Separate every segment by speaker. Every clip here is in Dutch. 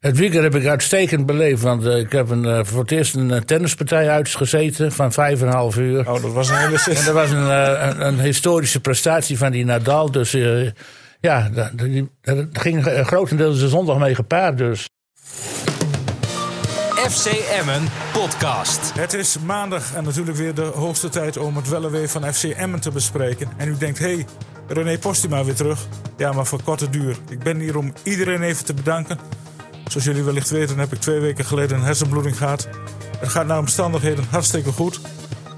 Speaker 1: Het weekend heb ik uitstekend beleefd, want eh, ik heb een, eh, voor het eerst een eh, tennispartij uitgezeten van 5,5 uur.
Speaker 2: Oh, dat was een hele
Speaker 1: En dat was een, eh, een, een historische prestatie van die Nadal. Dus eh, ja, da- die- daar ging eh, grotendeels de zondag mee gepaard. Dus.
Speaker 3: FC Emmen podcast.
Speaker 2: Het is maandag en natuurlijk weer de hoogste tijd om het wel en wee van FC Emmen te bespreken. En u denkt, hé, hey, René Postuma weer terug. Ja, maar voor korte duur. Ik ben hier om iedereen even te bedanken. Zoals jullie wellicht weten heb ik twee weken geleden een hersenbloeding gehad. Het gaat naar omstandigheden hartstikke goed.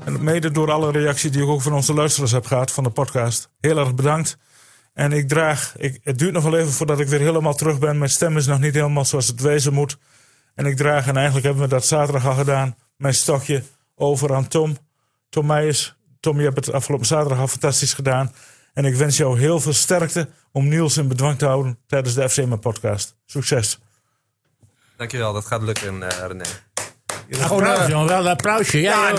Speaker 2: En mede door alle reactie die ik ook van onze luisteraars heb gehad van de podcast. Heel erg bedankt. En ik draag, ik, het duurt nog wel even voordat ik weer helemaal terug ben. Mijn stem is nog niet helemaal zoals het wezen moet. En ik draag, en eigenlijk hebben we dat zaterdag al gedaan, mijn stokje over aan Tom. Tom Meijers, Tom, je hebt het afgelopen zaterdag al fantastisch gedaan. En ik wens jou heel veel sterkte om Niels in bedwang te houden tijdens de FCM podcast. Succes.
Speaker 4: Dankjewel, dat gaat lukken, eh René.
Speaker 1: Applaus, jongen, wel een applausje. eh, Ja, joh.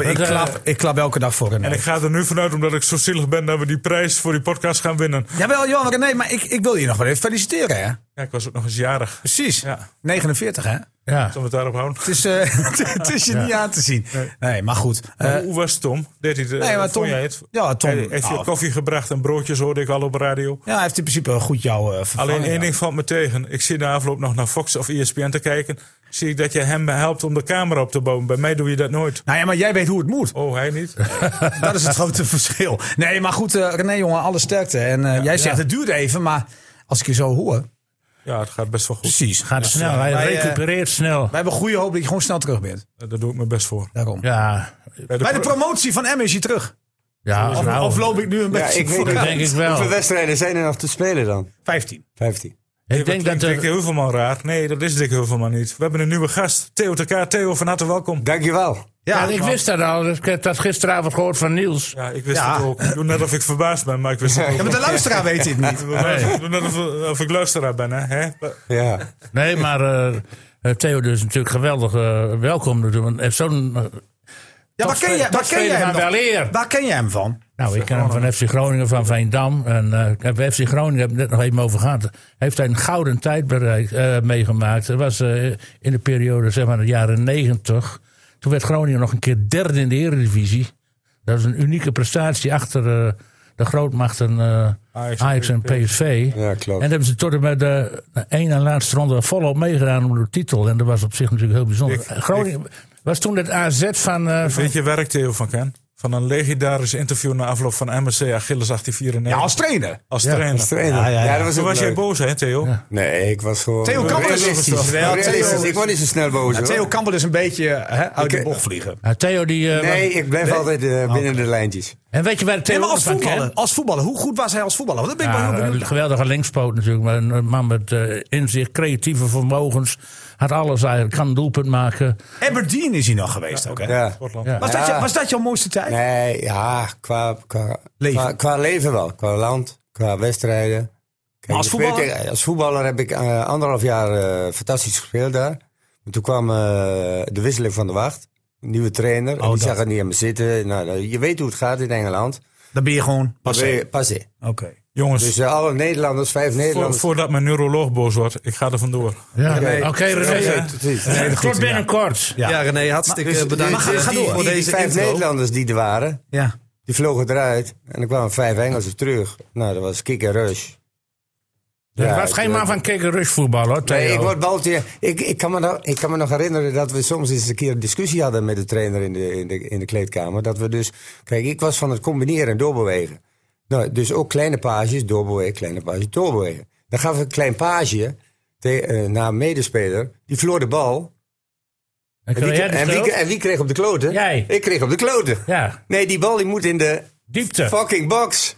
Speaker 5: ik,
Speaker 1: eh,
Speaker 5: klap, ik klap elke dag voor
Speaker 2: En
Speaker 5: René.
Speaker 2: ik ga er nu vanuit, omdat ik zo zielig ben, dat we die prijs voor die podcast gaan winnen.
Speaker 5: Jawel, Johan, René, maar ik, ik wil je nog wel even feliciteren, hè?
Speaker 2: Ja, ik was ook nog eens jarig.
Speaker 5: Precies.
Speaker 2: Ja.
Speaker 5: 49, hè?
Speaker 1: ja.
Speaker 2: Zullen we het daarop houden?
Speaker 5: Het is, eh, het is je niet aan te zien. Nee, maar goed. Eh,
Speaker 2: hoe was het, Tom? Deed hij de,
Speaker 5: nee, maar
Speaker 2: vond
Speaker 5: Tom.
Speaker 2: jij het?
Speaker 5: Ja, Tom.
Speaker 2: Hij heeft je
Speaker 5: nou,
Speaker 2: koffie gebracht en broodjes hoorde ik al op de radio.
Speaker 5: ja, hij heeft in principe goed jou eh vervangen.
Speaker 2: Alleen
Speaker 5: ja.
Speaker 2: één ding valt me tegen. Ik zie na afloop nog naar Fox of E ESPN te kijken. Zie ik dat je hem helpt om de camera op te bouwen. Bij mij doe je dat nooit.
Speaker 5: Nou ja, maar jij weet hoe het moet.
Speaker 2: Oh, hij niet?
Speaker 5: Dat is het grote verschil. Nee, maar goed, eh, René, jongen, alle sterkte. En eh, jij zegt het duurt even, maar als ik je zo hoor.
Speaker 2: Ja, het gaat best wel goed.
Speaker 5: Precies.
Speaker 1: Gaat snel, hij
Speaker 5: wij, eh,
Speaker 1: recupereert snel.
Speaker 5: We hebben goede hoop dat je gewoon snel terug bent.
Speaker 2: Eh, Daar doe ik mijn best voor.
Speaker 5: Daarom.
Speaker 1: Ja,
Speaker 5: Bij de
Speaker 2: pro-
Speaker 5: promotie van M is je terug.
Speaker 1: ja
Speaker 5: Of,
Speaker 1: nou,
Speaker 5: of loop ik nu een
Speaker 6: Ja,
Speaker 5: beetje
Speaker 6: ik weet
Speaker 5: vooruit?
Speaker 6: het.
Speaker 1: denk ik wel.
Speaker 6: Hoeveel wedstrijden zijn er nog te spelen dan?
Speaker 5: 15.
Speaker 6: 15.
Speaker 1: Ik
Speaker 2: Wat
Speaker 1: denk dat eh,
Speaker 2: klinkt Dick
Speaker 1: er,
Speaker 2: Heuvelman raar. Nee, dat is Dick Heuvelman niet. We hebben een nieuwe gast. Theo TK. Theo, van harte welkom.
Speaker 6: Dankjewel.
Speaker 1: ja,
Speaker 5: Ja,
Speaker 1: ik
Speaker 5: maar-
Speaker 1: wist dat al. dus Ik heb dat gisteravond gehoord van Niels.
Speaker 2: Ja, ik wist
Speaker 5: Ja.
Speaker 2: het ook. Ik doe net of ik verbaasd ben, maar ik wist het ook.
Speaker 5: Ja, maar de luisteraar weet dit niet.
Speaker 2: Ik doe net of, of ik luisteraar ben, hè? hè?
Speaker 6: Ja.
Speaker 1: Nee, maar eh, eh, Theo dus natuurlijk geweldig eh, welkom. natuurlijk, Want hij heeft zo'n... eh,
Speaker 5: Ja, waar ken jij, waar ken jij
Speaker 1: van
Speaker 5: hem
Speaker 1: wel
Speaker 5: dan?
Speaker 1: eer.
Speaker 5: Waar ken jij hem van?
Speaker 1: Nou, ik ken hem van FC Groningen, van Veendam. En eh, ik heb bij FC Groningen, heb ik het net nog even over gehad. Heeft hij een gouden tijd bereikt, eh, meegemaakt. Dat was eh, in de periode, zeg maar, de jaren negentig. Toen werd Groningen nog een keer derde in de Eredivisie. Dat is een unieke prestatie achter eh, de grootmachten eh,
Speaker 2: Ajax
Speaker 1: Ajax,
Speaker 2: en
Speaker 1: en PSV.
Speaker 6: Ja,
Speaker 1: en
Speaker 6: klopt.
Speaker 1: daar hebben ze tot en met de één en laatste ronde volop meegedaan om de titel. En dat was op zich natuurlijk heel bijzonder.
Speaker 2: Ik-
Speaker 1: Groningen was toen het AZ van... eh, van
Speaker 2: Weet je werk, Theo van Ken? Van een legendarisch interview na afloop van MSC Achilles 1894.
Speaker 5: Ja, als trainer.
Speaker 2: als trainer.
Speaker 6: Als trainer.
Speaker 5: Ja, ja, ja.
Speaker 6: dat was
Speaker 2: Toen
Speaker 6: ook
Speaker 2: was jij
Speaker 6: leuk.
Speaker 2: boos, hè, Theo?
Speaker 6: Nee, ik was gewoon...
Speaker 5: Theo Kampers is
Speaker 6: Realistisch.
Speaker 5: het toch? Ja, Theo-
Speaker 6: Realistisch. Ik word niet zo snel boos,
Speaker 5: Ja,
Speaker 6: hoor.
Speaker 5: Theo Campbell is een beetje hè, uit de
Speaker 6: Ik-
Speaker 5: bocht vliegen.
Speaker 1: Nou, Theo die... eh, was-
Speaker 6: Nee, ik blijf altijd eh,
Speaker 5: Nou.
Speaker 6: binnen de lijntjes.
Speaker 1: En weet je waar Theo
Speaker 5: Nee, maar
Speaker 1: ook
Speaker 5: als
Speaker 1: van kent?
Speaker 5: voetballer, als voetballer, hoe goed was hij als voetballer? Want dat ben ik wel
Speaker 1: Ja,
Speaker 5: heel benieuwd.
Speaker 1: een geweldige linkspoot natuurlijk. Maar een man met eh, inzicht, creatieve vermogens. Had alles eigenlijk. Kan een doelpunt maken.
Speaker 5: Aberdeen is hij nog geweest ook, hè?
Speaker 6: Ja.
Speaker 2: Portland.
Speaker 5: Was, dat
Speaker 6: Ja.
Speaker 5: je, was dat jouw mooiste tijd?
Speaker 6: Nee, ja, qua, qua,
Speaker 5: Leven.
Speaker 6: Qua, qua leven wel. Qua land, qua wedstrijden. Kijk,
Speaker 5: Maar als
Speaker 6: ik
Speaker 5: voetballer?
Speaker 6: weet, eh, als voetballer heb ik eh, anderhalf jaar eh, fantastisch gespeeld daar. Maar toen kwam eh, de wisseling van de wacht. Een nieuwe trainer. en die
Speaker 5: Oh, dat.
Speaker 6: zag het niet aan me zitten. Nou, eh, je weet hoe het gaat in Engeland.
Speaker 5: Dan ben je gewoon
Speaker 6: Dan ben
Speaker 5: passé.
Speaker 6: je Passé.
Speaker 5: Oké.
Speaker 2: Jongens,
Speaker 6: Dus eh, alle Nederlanders, vijf
Speaker 2: voor,
Speaker 6: Nederlanders.
Speaker 2: voordat mijn neuroloog boos wordt, ik ga er vandoor.
Speaker 1: Ja.
Speaker 6: Nee.
Speaker 1: Oké, René.
Speaker 6: Ja, precies.
Speaker 1: Tot binnenkort.
Speaker 5: Ja.
Speaker 4: Ja, René, hartstikke
Speaker 6: Dus
Speaker 4: bedankt
Speaker 5: maar ga-
Speaker 4: eh,
Speaker 5: ga
Speaker 4: die-
Speaker 5: door.
Speaker 4: voor
Speaker 6: die, die
Speaker 4: deze
Speaker 6: vijf
Speaker 4: intro.
Speaker 6: Nederlanders die er waren,
Speaker 5: Ja.
Speaker 6: die vlogen eruit. En er kwamen vijf Engelsen terug. Nou, dat was kick en rush.
Speaker 1: Dat
Speaker 6: Ja,
Speaker 1: was
Speaker 6: ik
Speaker 1: geen
Speaker 6: weet-
Speaker 1: man van kick rush voetbal hoor, Theo.
Speaker 6: Nee, ik word baltje. Ik, ik, kan me nog, ik kan me nog herinneren dat we soms eens een keer een discussie hadden met de trainer in de, in de, in de kleedkamer. Dat we dus. Kijk, ik was van het combineren en doorbewegen. Nou, dus ook kleine pages, doorbewegen, kleine pages, doorbewegen. Dan gaf ik een klein page te- eh, naar een medespeler. Die verloor de bal.
Speaker 1: En
Speaker 6: En
Speaker 1: kun
Speaker 6: wie,
Speaker 1: jij dus
Speaker 6: en, wie,
Speaker 1: ook?
Speaker 6: en wie kreeg op de kloten?
Speaker 1: Jij.
Speaker 6: Ik kreeg op de kloten.
Speaker 1: Ja,
Speaker 6: Nee, die bal die moet in de
Speaker 1: diepte.
Speaker 6: fucking box.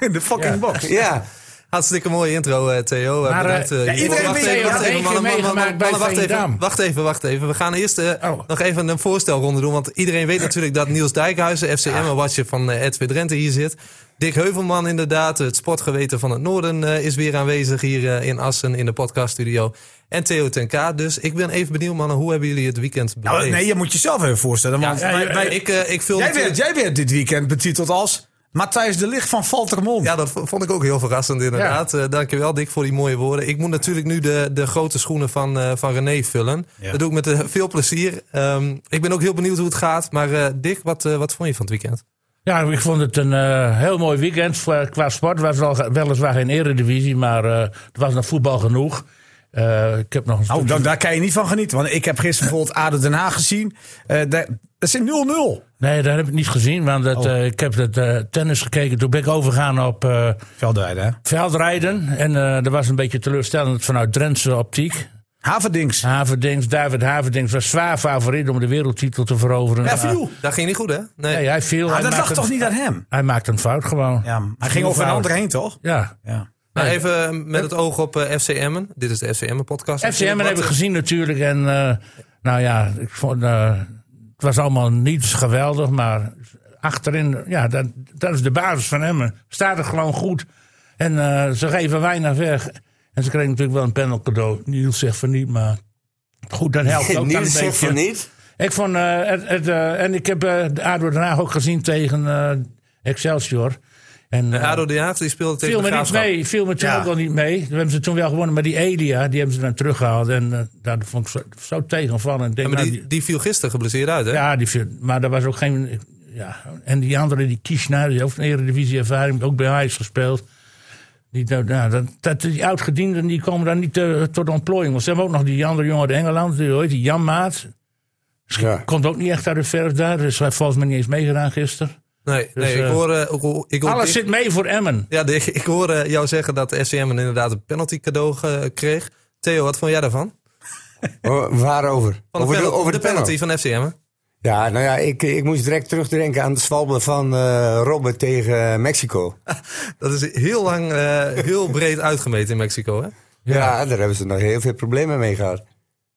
Speaker 5: In de fucking
Speaker 1: Ja.
Speaker 5: box.
Speaker 6: Ja.
Speaker 4: Hartstikke mooie intro, eh, Theo. Eh,
Speaker 1: Maar, eh,
Speaker 4: bedankt, eh,
Speaker 1: ja,
Speaker 4: hiervoor.
Speaker 5: iedereen
Speaker 4: Wacht
Speaker 5: weet
Speaker 4: even,
Speaker 5: dat
Speaker 4: wacht
Speaker 5: je
Speaker 4: even,
Speaker 1: één keer
Speaker 4: mannen, mannen,
Speaker 1: meegemaakt bij
Speaker 4: mannen, wacht even,
Speaker 1: Veendam.
Speaker 4: wacht even, wacht even. We gaan eerst eh,
Speaker 1: Oh.
Speaker 4: nog even een voorstelronde doen. Want iedereen weet natuurlijk dat Niels Dijkhuizen, FCM, een watje van eh Edwin Drenthe hier zit. Dick Heuvelman inderdaad, het sportgeweten van het Noorden, eh, is weer aanwezig hier eh, in Assen in de podcaststudio. En Theo ten K. Dus ik ben even benieuwd, mannen, hoe hebben jullie het weekend beleefd?
Speaker 5: Nou, nee, je moet jezelf even voorstellen. Want
Speaker 4: Ja,
Speaker 5: wij- wij-
Speaker 4: ik, eh, ik vul
Speaker 5: jij,
Speaker 4: natuurlijk-
Speaker 5: werd, jij werd dit weekend betiteld als Matthijs de Ligt van Valtermond.
Speaker 4: Ja, dat v- vond ik ook heel verrassend inderdaad. Eh, dankjewel Dick voor die mooie woorden. Ik moet natuurlijk nu de, de grote schoenen van, eh, van René vullen. Dat doe ik met eh, veel plezier. Ehm, ik ben ook heel benieuwd hoe het gaat. Maar eh, Dick, wat, eh, wat vond je van het weekend?
Speaker 1: Ja, ik vond het een eh, heel mooi weekend. Qua- Qua sport was het al, weliswaar geen eredivisie, maar eh het was nog voetbal genoeg. Eh, ik heb nog een
Speaker 5: Nou,
Speaker 1: stukje-
Speaker 5: dan, daar kan je niet van genieten. Want ik heb gisteren bijvoorbeeld Aden Den Haag gezien. Eh daar, dat zit 0-0.
Speaker 1: Nee, dat heb ik niet gezien, want dat,
Speaker 5: Oh.
Speaker 1: eh, ik heb het eh, tennis gekeken. Toen ben ik overgegaan op eh,
Speaker 5: Veldrijden, hè?
Speaker 1: veldrijden. En eh dat was een beetje teleurstellend vanuit Drentse optiek.
Speaker 5: Haverdings.
Speaker 1: Haverdings, David Haverdings was zwaar favoriet om de wereldtitel te veroveren. Eh,
Speaker 5: Ja, viel.
Speaker 4: Dat ging niet goed hè? Nee.
Speaker 1: Nee, hij viel.
Speaker 5: Maar
Speaker 1: hij
Speaker 5: dat
Speaker 1: maakte
Speaker 5: lag toch
Speaker 1: een-
Speaker 5: niet aan hem?
Speaker 1: Hij maakte een fout gewoon.
Speaker 5: Ja, maar hij ging over een ander heen, toch?
Speaker 1: Ja.
Speaker 5: Ja.
Speaker 4: Maar even eh, met het oog op eh, FC Emmen. Dit is de FC Emmen podcast.
Speaker 1: FCM
Speaker 4: Wat,
Speaker 1: heb ik
Speaker 4: eh,
Speaker 1: gezien natuurlijk. En eh, nou ja, ik vond, eh, het was allemaal niet geweldig. Maar achterin, ja, dat, dat is de basis van Emmen. Staat er gewoon goed. En eh, ze geven weinig weg. En ze kregen natuurlijk wel een panel cadeau. Niels zegt van niet, maar goed, dat helpt ook dan een
Speaker 6: Niels zegt
Speaker 1: beetje.
Speaker 6: van niet.
Speaker 1: Ik vond, eh, het, het, eh, en ik heb eh, de ADO Den Haag ook gezien tegen eh, Excelsior. En, eh,
Speaker 4: Ado De Haag die speelde tegen
Speaker 1: viel
Speaker 4: de
Speaker 1: me niet
Speaker 4: Graafschap.
Speaker 1: mee. Viel me toen
Speaker 5: Ja.
Speaker 1: ook al niet mee. We hebben ze toen wel gewonnen. Maar die Elia, die hebben ze dan teruggehaald. En eh, daar vond ik zo, zo tegenvallen. Ik
Speaker 4: Ja,
Speaker 1: denk,
Speaker 4: maar
Speaker 1: nou,
Speaker 4: die, die viel gisteren geblesseerd uit hè?
Speaker 1: die- ja, die viel- maar daar was ook geen... Ja. En die andere, die Kieschner, die heeft een eredivisie ervaring. Ook bij Ajax gespeeld. Die, nou, nou, dat, dat, die oudgedienden die komen dan niet eh, tot ontplooiing. Want ze hebben ook nog die andere jongen uit Engeland. Die, hoe heet die Jan Maat.
Speaker 6: Ja.
Speaker 1: Komt ook niet echt uit de verf daar. Dus hij heeft volgens mij niet eens meegedaan gisteren.
Speaker 4: Nee,
Speaker 1: Dus,
Speaker 4: nee ik
Speaker 1: eh,
Speaker 4: hoor... eh, ik hoor- ik hoor
Speaker 1: Alles
Speaker 4: Dick-
Speaker 1: zit mee voor Emmen.
Speaker 4: Ja, Dick, ik hoor eh, jou zeggen dat de FCM inderdaad een penalty cadeau ge- kreeg. Theo, wat vond jij daarvan?
Speaker 6: Oh, waarover?
Speaker 4: Van de
Speaker 6: over,
Speaker 4: penalty,
Speaker 6: de, over de,
Speaker 4: penalty,
Speaker 6: penalty.
Speaker 4: van FCM.
Speaker 6: Ja, nou ja, ik, ik moest direct terugdenken aan de zwalbe van eh Robben tegen Mexico.
Speaker 4: Dat is heel lang, eh, heel breed uitgemeten in Mexico. Hè?
Speaker 6: Ja. daar hebben ze nog heel veel problemen mee gehad.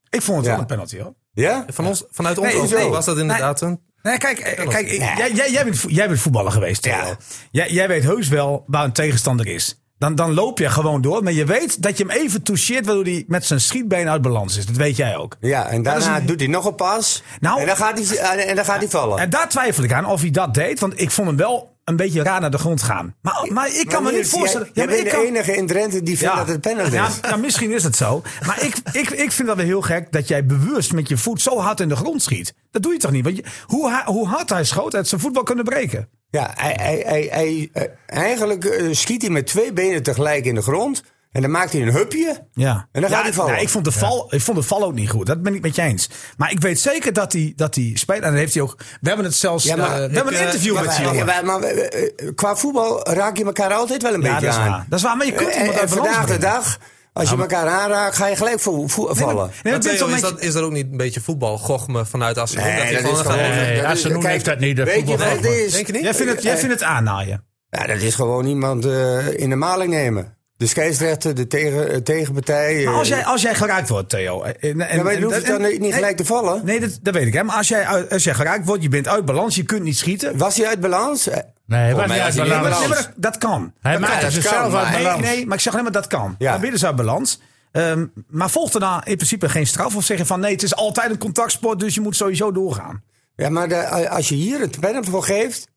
Speaker 5: Ik vond het wel
Speaker 6: Ja.
Speaker 5: een penalty, hoor.
Speaker 6: Ja?
Speaker 4: Van ons, vanuit ons
Speaker 5: Nee,
Speaker 4: oog
Speaker 5: zo.
Speaker 4: was dat inderdaad een...
Speaker 5: Nee, kijk, eh, kijk ik- jij, jij, jij, bent, vo- jij bent voetballer geweest, Theo.
Speaker 6: Ja.
Speaker 5: Jij, jij weet heus wel waar een tegenstander is. Dan, dan loop je gewoon door, maar je weet dat je hem even toucheert... waardoor hij met zijn schietbeen uit balans is. Dat weet jij ook.
Speaker 6: Ja, en
Speaker 5: is
Speaker 6: daarna
Speaker 5: een-
Speaker 6: doet hij nog een pas.
Speaker 5: dus- Nou-
Speaker 6: en dan gaat hij, en dan gaat hij vallen.
Speaker 5: En daar twijfel ik aan of hij dat deed. Want ik vond hem wel een beetje raar naar de grond gaan. Maar, maar ik kan
Speaker 6: Maar
Speaker 5: me
Speaker 6: Niels,
Speaker 5: niet voorstellen...
Speaker 6: Jij,
Speaker 5: Ja,
Speaker 6: jij
Speaker 5: maar ik
Speaker 6: bent de
Speaker 5: kan-
Speaker 6: enige in Drenthe die vindt dat het penalty
Speaker 5: ja,
Speaker 6: is.
Speaker 5: ja, misschien is het zo. Maar ik, ik, ik vind dat wel heel gek dat jij bewust met je voet zo hard in de grond schiet. Dat doe je toch niet? Want je- hoe, ha- hoe hard hij schoot, hij had zijn voetbal kunnen breken.
Speaker 6: Ja, hij, hij, hij, hij- eh, eigenlijk eh, schiet hij met twee benen tegelijk in de grond. En dan maakt hij een hupje.
Speaker 5: Ja.
Speaker 6: En dan gaat hij vallen.
Speaker 5: nou, ik, vond de val, ik vond de val ook niet goed. Dat ben ik met je eens. Maar ik weet zeker dat hij, dat hij speelt. En dat heeft hij ook. We hebben het zelfs.
Speaker 6: Ja, maar-
Speaker 5: eh, we hebben
Speaker 4: ik,
Speaker 5: een
Speaker 4: eh,
Speaker 5: interview
Speaker 6: Ja,
Speaker 5: met die
Speaker 6: maar,
Speaker 5: jongen.
Speaker 6: ja, maar, maar, eh, eh, qua voetbal raak je elkaar altijd wel een
Speaker 5: Ja,
Speaker 6: beetje
Speaker 5: dat is
Speaker 6: aan.
Speaker 5: waar. Dat is waar. Maar je kunt
Speaker 6: En-
Speaker 5: iemand
Speaker 6: en
Speaker 5: uit balans
Speaker 6: Eh, vandaag de
Speaker 5: brengen.
Speaker 6: dag, als
Speaker 1: Nou,
Speaker 6: je elkaar aanraakt, ga je gelijk vo- vo-
Speaker 5: Nee, maar-
Speaker 6: vallen.
Speaker 5: nee,
Speaker 4: Maar
Speaker 5: maar dit is
Speaker 4: Theo,
Speaker 5: wel
Speaker 4: is,
Speaker 5: met je-
Speaker 4: dat, is dat ook niet een beetje voetbalgochme vanuit Assen?
Speaker 1: Nee,
Speaker 6: dat is-
Speaker 1: Asenoen
Speaker 6: kijk,
Speaker 1: heeft dat niet, dat
Speaker 6: Weet je
Speaker 1: voetbal-
Speaker 6: wat het is? Eh,
Speaker 4: Denk je niet?
Speaker 5: Jij vindt het, jij vindt het aannaaien.
Speaker 6: Ja, dat is gewoon iemand eh, in de maling nemen. De scheidsrechter, de tegen, eh, tegenpartij.
Speaker 5: Maar
Speaker 6: eh,
Speaker 5: als jij, als jij geraakt wordt, Theo. En, en,
Speaker 6: ja, maar je
Speaker 5: en-
Speaker 6: hoeft
Speaker 5: en-
Speaker 6: dan niet
Speaker 5: nee,
Speaker 6: gelijk te vallen.
Speaker 5: Nee, dat, dat weet ik. Hè. Maar als jij, uit- eh, als jij geraakt wordt, je bent uit balans, je kunt niet schieten.
Speaker 6: Was hij uit balans? Eh,
Speaker 1: Nee, hij was
Speaker 6: mij
Speaker 1: niet
Speaker 6: was
Speaker 1: uit
Speaker 6: hij niet in
Speaker 1: balans.
Speaker 5: Nee, maar
Speaker 6: balans.
Speaker 5: dat, dat kan.
Speaker 1: Hij
Speaker 6: kan,
Speaker 1: maakte
Speaker 6: dat
Speaker 1: zichzelf
Speaker 6: kan,
Speaker 1: uit
Speaker 6: maar-
Speaker 1: balans.
Speaker 5: Nee, maar ik zeg alleen maar dat kan.
Speaker 6: Ja.
Speaker 5: Dan ben je dus uit balans. Ehm, maar volgt er dan in principe geen straf of zeggen van nee, het is altijd een contactsport, dus je moet sowieso doorgaan.
Speaker 6: Ja, maar de- eh, als je hier een penalty voor geeft,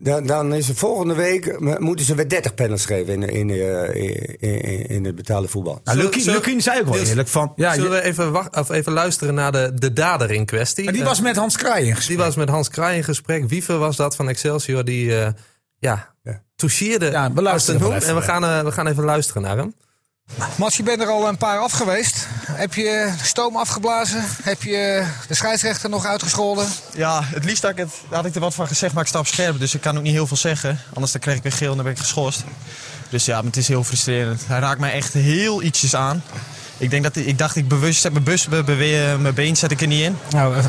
Speaker 6: dan, dan is er volgende week eh, moeten ze weer 30 penalties geven in, in, eh, in, in, in het betaalde voetbal.
Speaker 5: Nou,
Speaker 4: Zullen-
Speaker 5: Lukien,
Speaker 4: zullen-
Speaker 5: Lukien zei ook wel
Speaker 4: Niels,
Speaker 5: eerlijk van. Ja,
Speaker 4: Zullen
Speaker 5: je-
Speaker 4: we even, wacht, of even luisteren naar de, de dader in kwestie?
Speaker 5: maar die
Speaker 4: Eh,
Speaker 5: was met Hans Kraai in gesprek.
Speaker 4: die was met Hans Kraai in gesprek. Wiever was dat van Excelsior die eh, ja, toucheerde
Speaker 5: Ja, we luisteren
Speaker 4: Assen
Speaker 5: nog even.
Speaker 4: En we gaan, eh, we gaan even luisteren naar hem.
Speaker 7: Mats, je bent er al een paar af geweest. Heb je stoom afgeblazen? Heb je de scheidsrechter nog uitgescholden?
Speaker 8: Ja, het liefst had ik, het, had ik er wat van gezegd, maar ik stap scherp. Dus ik kan ook niet heel veel zeggen. Anders dan kreeg ik weer geel en dan ben ik geschorst. Dus ja, maar het is heel frustrerend. Hij raakt mij echt heel ietsjes aan. Ik, denk dat, hij- ik dacht, ik bewust zet mijn, bus, be- bewe- mijn been zet ik er niet in.
Speaker 7: Nou, eh,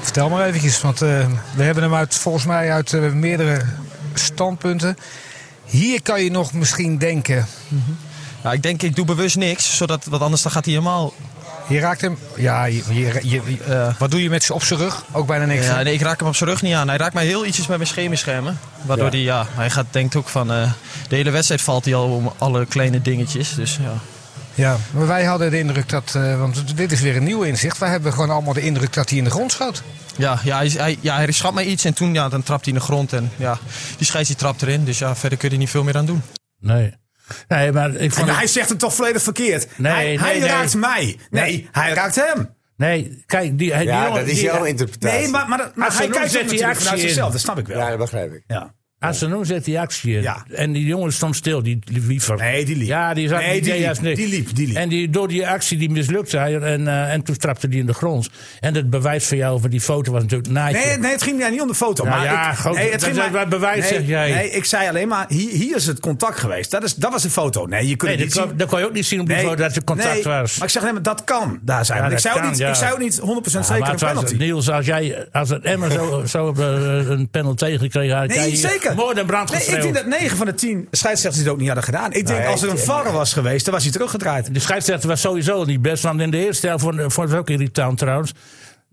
Speaker 7: vertel maar eventjes, want eh, we hebben hem uit, volgens mij uit eh, meerdere standpunten. Hier kan je nog misschien denken.
Speaker 8: Nou, ik denk, ik doe bewust niks, zodat, want anders dan gaat hij helemaal...
Speaker 7: Je raakt hem. Ja, je, je- je-
Speaker 8: eh,
Speaker 7: wat doe je met z'n op zijn rug? Ook bijna niks. hè?
Speaker 8: ja, nee, ik raak hem op zijn rug niet aan. Hij raakt mij heel ietsjes met mijn schemerschermen. Waardoor hij, ja, hij gaat, denkt ook van... eh, de hele wedstrijd valt hij al om alle kleine dingetjes, dus ja.
Speaker 7: Ja, maar wij hadden de indruk dat, eh, want dit is weer een nieuw inzicht. Wij hebben gewoon allemaal de indruk dat hij in de grond schoot.
Speaker 8: Ja, ja, hij, hij, ja, hij schat mij iets en toen ja, dan trapt hij in de grond. En ja, die scheids die trapt erin. Dus ja, verder kun je er niet veel meer aan doen.
Speaker 1: Nee. Nee, maar ik vond
Speaker 5: Maar
Speaker 1: het-
Speaker 5: hij zegt het toch volledig verkeerd.
Speaker 1: Nee,
Speaker 5: hij
Speaker 1: nee,
Speaker 5: hij
Speaker 1: nee.
Speaker 5: raakt mij. Nee, hij raakt hem.
Speaker 1: Nee, kijk, die, die
Speaker 6: Ja,
Speaker 1: jongen-
Speaker 6: dat is
Speaker 1: die-
Speaker 6: jouw interpretatie.
Speaker 5: Nee, maar, maar, dat- maar hij
Speaker 1: Absoluut
Speaker 5: kijkt
Speaker 1: zet
Speaker 5: ook
Speaker 1: die
Speaker 5: natuurlijk
Speaker 1: actie
Speaker 5: vanuit
Speaker 1: in.
Speaker 5: zichzelf. Dat snap ik wel.
Speaker 6: Ja, dat begrijp ik.
Speaker 5: Ja.
Speaker 1: Asenoen zet die actie in.
Speaker 5: Ja.
Speaker 1: En die jongen stond stil, die wiever.
Speaker 5: Nee, die liep.
Speaker 1: Ja, die zat
Speaker 5: Nee, die
Speaker 1: deed
Speaker 5: liep,
Speaker 1: juist niks.
Speaker 5: die liep, die liep.
Speaker 1: En die, door die actie die mislukte hij en, eh, en toen trapte die in de grond. En het bewijs van jou van die foto was natuurlijk naadje.
Speaker 5: Nee, nee, het ging mij niet om de foto.
Speaker 1: Nou
Speaker 5: maar
Speaker 1: ja,
Speaker 5: ik,
Speaker 1: goed,
Speaker 5: nee,
Speaker 1: dat is wat bewijs,
Speaker 5: nee,
Speaker 1: zeg jij.
Speaker 5: Nee, ik zei alleen maar, hier, hier is het contact geweest. Dat, is, dat was de foto. Nee, je kunt
Speaker 1: Nee,
Speaker 5: het
Speaker 1: dat,
Speaker 5: niet
Speaker 1: kon,
Speaker 5: zien.
Speaker 1: dat kon je ook niet zien op die
Speaker 5: Nee,
Speaker 1: foto dat er contact
Speaker 5: nee,
Speaker 1: was.
Speaker 5: Maar ik zeg alleen maar, dat kan daar zijn.
Speaker 1: Ja,
Speaker 5: Want ik,
Speaker 1: dat
Speaker 5: zou ook
Speaker 1: kan,
Speaker 5: niet,
Speaker 1: ja.
Speaker 5: ik zou ook niet 100%
Speaker 1: Ja,
Speaker 5: zeker
Speaker 1: maar
Speaker 5: een
Speaker 1: het was-
Speaker 5: penalty.
Speaker 1: Niels, als, jij, als het Emmer zo, zo op, eh, een penalty gekregen had, had
Speaker 5: Nee,
Speaker 1: jij
Speaker 5: zeker.
Speaker 1: moord en brand
Speaker 5: nee, ik
Speaker 1: geschreeuwd.
Speaker 5: denk dat 9 van de 10 scheidsrechters dit ook niet hadden gedaan. Ik denk, als er een VAR was geweest, dan was hij teruggedraaid.
Speaker 1: De scheidsrechter was sowieso niet best. Want in de eerste helft vond, vond het ook irritant trouwens.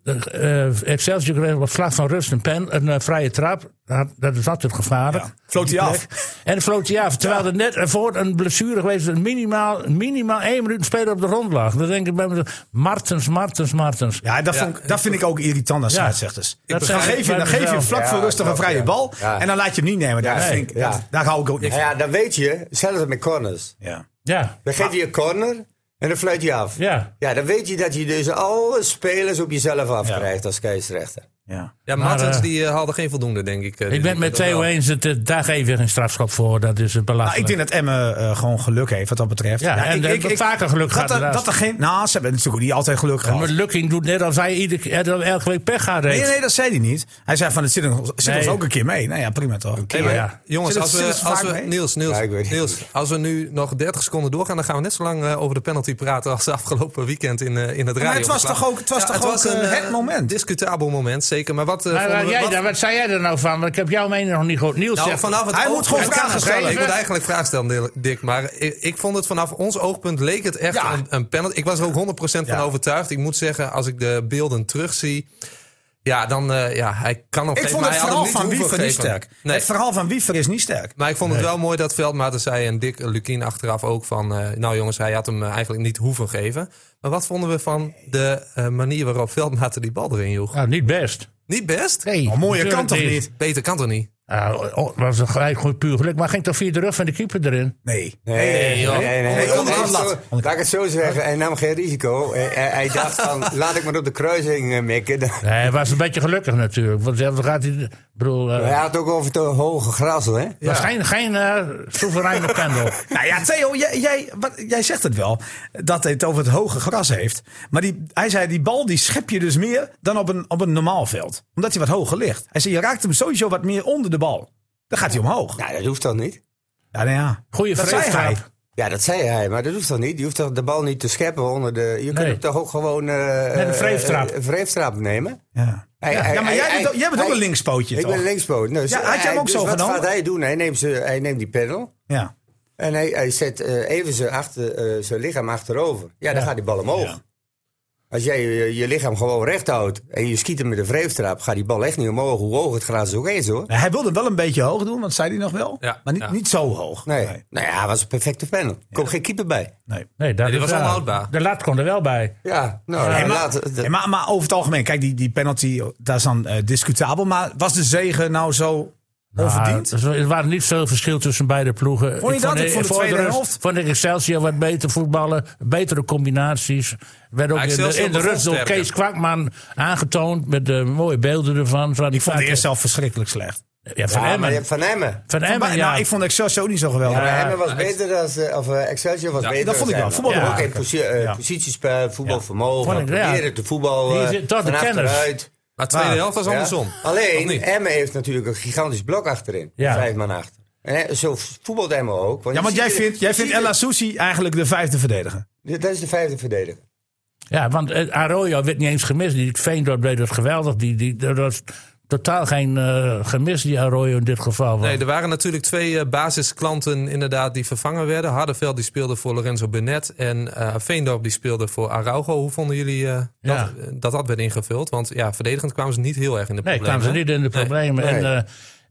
Speaker 1: Eh, Excelsior kreeg op slag van rust een, pen, een eh, vrije trap. Dat- Dat is altijd gevaarlijk.
Speaker 5: Ja, floot hij
Speaker 1: Die
Speaker 5: af.
Speaker 1: plek. En floot hij af. Terwijl er net voor een blessure geweest is. Minimaal, minimaal één minuut spelen op de grond lag. Dan denk ik bij mezelf, Martens, Martens, Martens.
Speaker 5: Ja, dat, vond ik- dat vind ik ook irritant als
Speaker 1: Ja.
Speaker 5: scheidsrechters.
Speaker 1: Dat
Speaker 5: dan
Speaker 1: zijn-
Speaker 5: geef je, dan geef je vlak
Speaker 6: Ja,
Speaker 5: voor rustig een
Speaker 6: klopt,
Speaker 5: vrije
Speaker 6: ja.
Speaker 5: bal.
Speaker 6: Ja.
Speaker 5: En dan laat je hem niet nemen. Daar,
Speaker 6: Ja, nee,
Speaker 5: vind ik,
Speaker 6: ja.
Speaker 5: dat- daar hou ik ook niks
Speaker 6: Nou
Speaker 5: van.
Speaker 6: ja, dan weet je, zelfs met corners.
Speaker 5: Ja.
Speaker 1: Ja,
Speaker 6: Dan geef je een corner en dan fluit je af.
Speaker 1: ja.
Speaker 6: Ja, dan weet je dat je dus alle spelers op jezelf afkrijgt als scheidsrechter.
Speaker 5: Ja.
Speaker 4: Ja,
Speaker 1: Maar,
Speaker 4: Martens
Speaker 1: eh,
Speaker 4: die eh, haalde geen voldoende, denk ik. eh,
Speaker 1: Ik
Speaker 4: dit
Speaker 1: ben het
Speaker 4: weekend
Speaker 1: met
Speaker 4: nog wel.
Speaker 1: Theo eens, dat, eh, daar geef je geen strafschop voor. Dat is eh,
Speaker 5: Nou, ik
Speaker 1: belachelijk.
Speaker 5: denk dat Emme eh, gewoon geluk heeft wat dat betreft.
Speaker 1: Ja, en
Speaker 5: ik,
Speaker 1: dat het vaker geluk
Speaker 5: dat
Speaker 1: gaat
Speaker 5: er-
Speaker 1: ernaast.
Speaker 5: dat er geen, nou, ze hebben natuurlijk ook niet altijd geluk
Speaker 1: Ja,
Speaker 5: gehad.
Speaker 1: maar Lukking doet net als hij iedere, eh, elke week pech gaat
Speaker 5: Nee,
Speaker 1: reed.
Speaker 5: nee, dat zei hij niet. Hij zei van, het zit, ons- zit
Speaker 1: Nee.
Speaker 5: ons ook een keer mee. Nou ja, prima toch.
Speaker 4: Hey, maar
Speaker 1: Ja.
Speaker 4: Jongens,
Speaker 5: Zit het-
Speaker 4: als
Speaker 5: zit
Speaker 4: we,
Speaker 5: het
Speaker 4: als
Speaker 5: vaak
Speaker 4: we,
Speaker 5: mee?
Speaker 4: Niels, Niels,
Speaker 6: Ja, ik weet het
Speaker 4: Niels, als we nu nog 30 seconden doorgaan, dan gaan we net zo lang eh, over de penalty praten als de afgelopen weekend in, eh, in het radio.
Speaker 5: het was toch ook- het was toch ook, eh, het
Speaker 4: eh,
Speaker 5: moment?
Speaker 4: Discutabel moment, zeker. Maar wat, eh,
Speaker 1: Maar,
Speaker 4: vonden
Speaker 1: eh,
Speaker 4: we-
Speaker 1: jij,
Speaker 4: wat-
Speaker 1: daar- wat zei jij er nou van? Want ik heb jouw mening nog niet gehoord. Niels
Speaker 4: Nou,
Speaker 1: zegt-
Speaker 4: vanaf het
Speaker 5: Hij moet
Speaker 4: oog-
Speaker 5: gewoon
Speaker 4: het
Speaker 5: vragen
Speaker 4: kan
Speaker 5: stellen.
Speaker 4: Ik moet eigenlijk vragen stellen, Dick. Maar ik, ik vond het vanaf ons oogpunt leek het echt
Speaker 5: Ja.
Speaker 4: een, een penalty. Ik was er ook 100% van
Speaker 5: Ja.
Speaker 4: overtuigd. Ik moet zeggen, als ik de beelden terugzie... Ja, dan... eh, ja, hij kan nog
Speaker 5: Ik
Speaker 4: geven,
Speaker 5: vond
Speaker 4: maar
Speaker 5: het
Speaker 4: hij had hem
Speaker 5: verhaal
Speaker 4: niet
Speaker 5: van
Speaker 4: hoeven
Speaker 5: Wiever niet
Speaker 4: geven.
Speaker 5: sterk.
Speaker 4: Nee.
Speaker 5: Het verhaal van Wiever is niet sterk.
Speaker 4: Maar ik vond het wel mooi dat Veldmaten zei en Dick Lukien achteraf ook van... eh, nou jongens, hij had hem eh, eigenlijk niet hoeven geven. Maar wat vonden we van de eh, manier waarop Veldmaten die bal erin joeg?
Speaker 1: Nou, niet best.
Speaker 4: Niet best?
Speaker 1: Nee,
Speaker 5: Oh, mooier kan toch
Speaker 1: natuurlijk
Speaker 5: niet?
Speaker 4: Beter kan toch niet?
Speaker 1: Ah, oh, oh, was een gelijk goed puur geluk. Maar ging toch via de rug van de keeper erin?
Speaker 5: Nee.
Speaker 6: Nee, nee,
Speaker 4: joh.
Speaker 6: nee. nee.
Speaker 5: Nee, onder
Speaker 6: Laat
Speaker 5: de
Speaker 6: ik het
Speaker 5: lat.
Speaker 6: zo- Laat ik het zo zeggen, hij nam geen risico. Hij, hij- hij dacht van, laat ik maar op de kruising eh, mikken. Dan-
Speaker 1: Nee, hij was een beetje gelukkig natuurlijk. Want zelfs gaat hij... ik bedoel, eh,
Speaker 6: Hij had ook over te hoge grassel, hè?
Speaker 1: was geen, geen eh, soevereine pendel.
Speaker 5: Nou ja, Theo, jij, jij, wat, jij zegt het wel. Dat hij het over het hoge gras heeft. Maar die, hij zei, die bal die schep je dus meer dan op een, op een normaal veld. Omdat hij wat hoger ligt. Hij zei, je raakt hem sowieso wat meer onder de bal. Dan gaat hij omhoog. Ja,
Speaker 6: Nou, dat hoeft toch niet?
Speaker 5: nou ja.
Speaker 1: Goeie
Speaker 5: Dat zei hij.
Speaker 1: vreeftrap.
Speaker 6: Ja, dat zei hij, maar dat hoeft toch niet? Je hoeft toch de bal niet te scheppen onder de... Je kunt
Speaker 1: Nee.
Speaker 6: hem toch ook gewoon... eh,
Speaker 1: Met een
Speaker 6: eh,
Speaker 1: vreeftrap.
Speaker 6: eh, een vreeftrap nemen?
Speaker 5: Ja,
Speaker 6: Hij- hij-
Speaker 5: ja maar jij
Speaker 6: hij-
Speaker 5: bent, ook- jij bent ook
Speaker 6: hij-
Speaker 5: een linkspootje,
Speaker 6: Ik
Speaker 5: toch?
Speaker 6: ben een linkspoot. Nou,
Speaker 5: Ja, had jij hem ook
Speaker 6: dus
Speaker 5: zo
Speaker 6: wat
Speaker 5: genomen?
Speaker 6: gaat hij doen? Hij neemt, ze, hij neemt die panel
Speaker 5: Ja.
Speaker 6: en hij, hij zet eh, even zijn, achter, eh, zijn lichaam achterover. Ja, dan gaat die bal omhoog.
Speaker 5: Ja.
Speaker 6: Als jij je, je lichaam gewoon recht houdt en je schiet hem met een vreeftrap... gaat die bal echt niet omhoog, hoe hoog het gras ook is, hoor.
Speaker 5: Nou, Hij wilde hem wel een beetje hoog doen, want zei hij nog wel.
Speaker 4: Ja,
Speaker 5: maar niet,
Speaker 4: ja.
Speaker 5: niet zo hoog.
Speaker 6: Nee. Nou ja, het was een perfecte panel. Er komt geen keeper bij.
Speaker 5: nee.
Speaker 1: Nee, dat
Speaker 4: Nee, die
Speaker 1: is
Speaker 4: was
Speaker 1: waar.
Speaker 4: onhoudbaar.
Speaker 1: De lat kon er wel bij.
Speaker 6: Ja, nou,
Speaker 5: Nee, maar,
Speaker 6: later- de-
Speaker 5: nee, maar, maar over het algemeen, kijk, die, die penalty, daar is dan eh, discutabel. Maar was de zegen nou zo onverdiend?
Speaker 1: Nou, er waren niet veel verschil tussen beide ploegen.
Speaker 5: je dat? Ik vond de
Speaker 1: voor
Speaker 5: tweede
Speaker 1: rust
Speaker 5: helft-
Speaker 1: Vond ik Excelsior wat beter voetballen, betere combinaties. Werd ook in de,
Speaker 4: Excelsior
Speaker 1: in de rust
Speaker 4: begon
Speaker 1: door
Speaker 4: sterker.
Speaker 1: Kees Kwakman aangetoond met de mooie beelden ervan. Van
Speaker 5: ik vond de eerste zelf verschrikkelijk slecht.
Speaker 1: Ja, van
Speaker 6: Ja, maar je
Speaker 1: Emmen.
Speaker 6: hebt Van Emmen.
Speaker 1: Van
Speaker 5: Maar,
Speaker 1: Emmen, ja.
Speaker 5: nou, ik vond Excelsior ook niet zo geweldig.
Speaker 6: Ja, maar
Speaker 1: Ja,
Speaker 6: Emmen was beter dan... ze- Of eh, Excelsior was
Speaker 5: Ja,
Speaker 6: beter
Speaker 5: dat
Speaker 6: dan
Speaker 5: vond ik wel.
Speaker 6: ze
Speaker 5: Voetbal
Speaker 6: Emmen.
Speaker 1: was
Speaker 6: Ook
Speaker 1: ook
Speaker 6: in posi- eh,
Speaker 5: Ja.
Speaker 6: positiespel, voetbalvermogen.
Speaker 1: Vond ik, ja.
Speaker 6: Proberen te voetballen.
Speaker 1: Hier zit toch de
Speaker 6: van
Speaker 1: kennis.
Speaker 6: achteruit.
Speaker 4: Maar de tweede
Speaker 5: Maar-
Speaker 4: helft was
Speaker 6: Ja.
Speaker 4: andersom. Of
Speaker 6: Alleen,
Speaker 4: niet?
Speaker 6: Emmen heeft natuurlijk een gigantisch blok achterin.
Speaker 1: Ja.
Speaker 6: Vijf man achter. En eh, zo voetbalt Emmen ook.
Speaker 5: Ja, want
Speaker 6: je
Speaker 5: jij
Speaker 6: ziet-
Speaker 5: vindt, jij
Speaker 6: je
Speaker 5: vindt
Speaker 6: ziet-
Speaker 5: Ella Sousi eigenlijk de vijfde verdediger.
Speaker 6: Dat is de vijfde verdediger.
Speaker 1: Ja, want eh, Arroyo werd niet eens gemist. Die Veendorp deed dat geweldig. Die, die, dat was totaal geen eh, gemis, die Arroyo in dit geval. was.
Speaker 4: Nee, er waren natuurlijk twee eh, basisklanten inderdaad die vervangen werden. Hardenveld die speelde voor Lorenzo Benet en eh Veendorp die speelde voor Araujo. Hoe vonden jullie eh,
Speaker 1: Ja.
Speaker 4: dat, dat dat werd ingevuld? Want ja, verdedigend kwamen ze niet heel erg in de
Speaker 1: Nee,
Speaker 4: problemen.
Speaker 1: kwamen ze niet in de problemen.
Speaker 6: Nee.
Speaker 1: En, eh,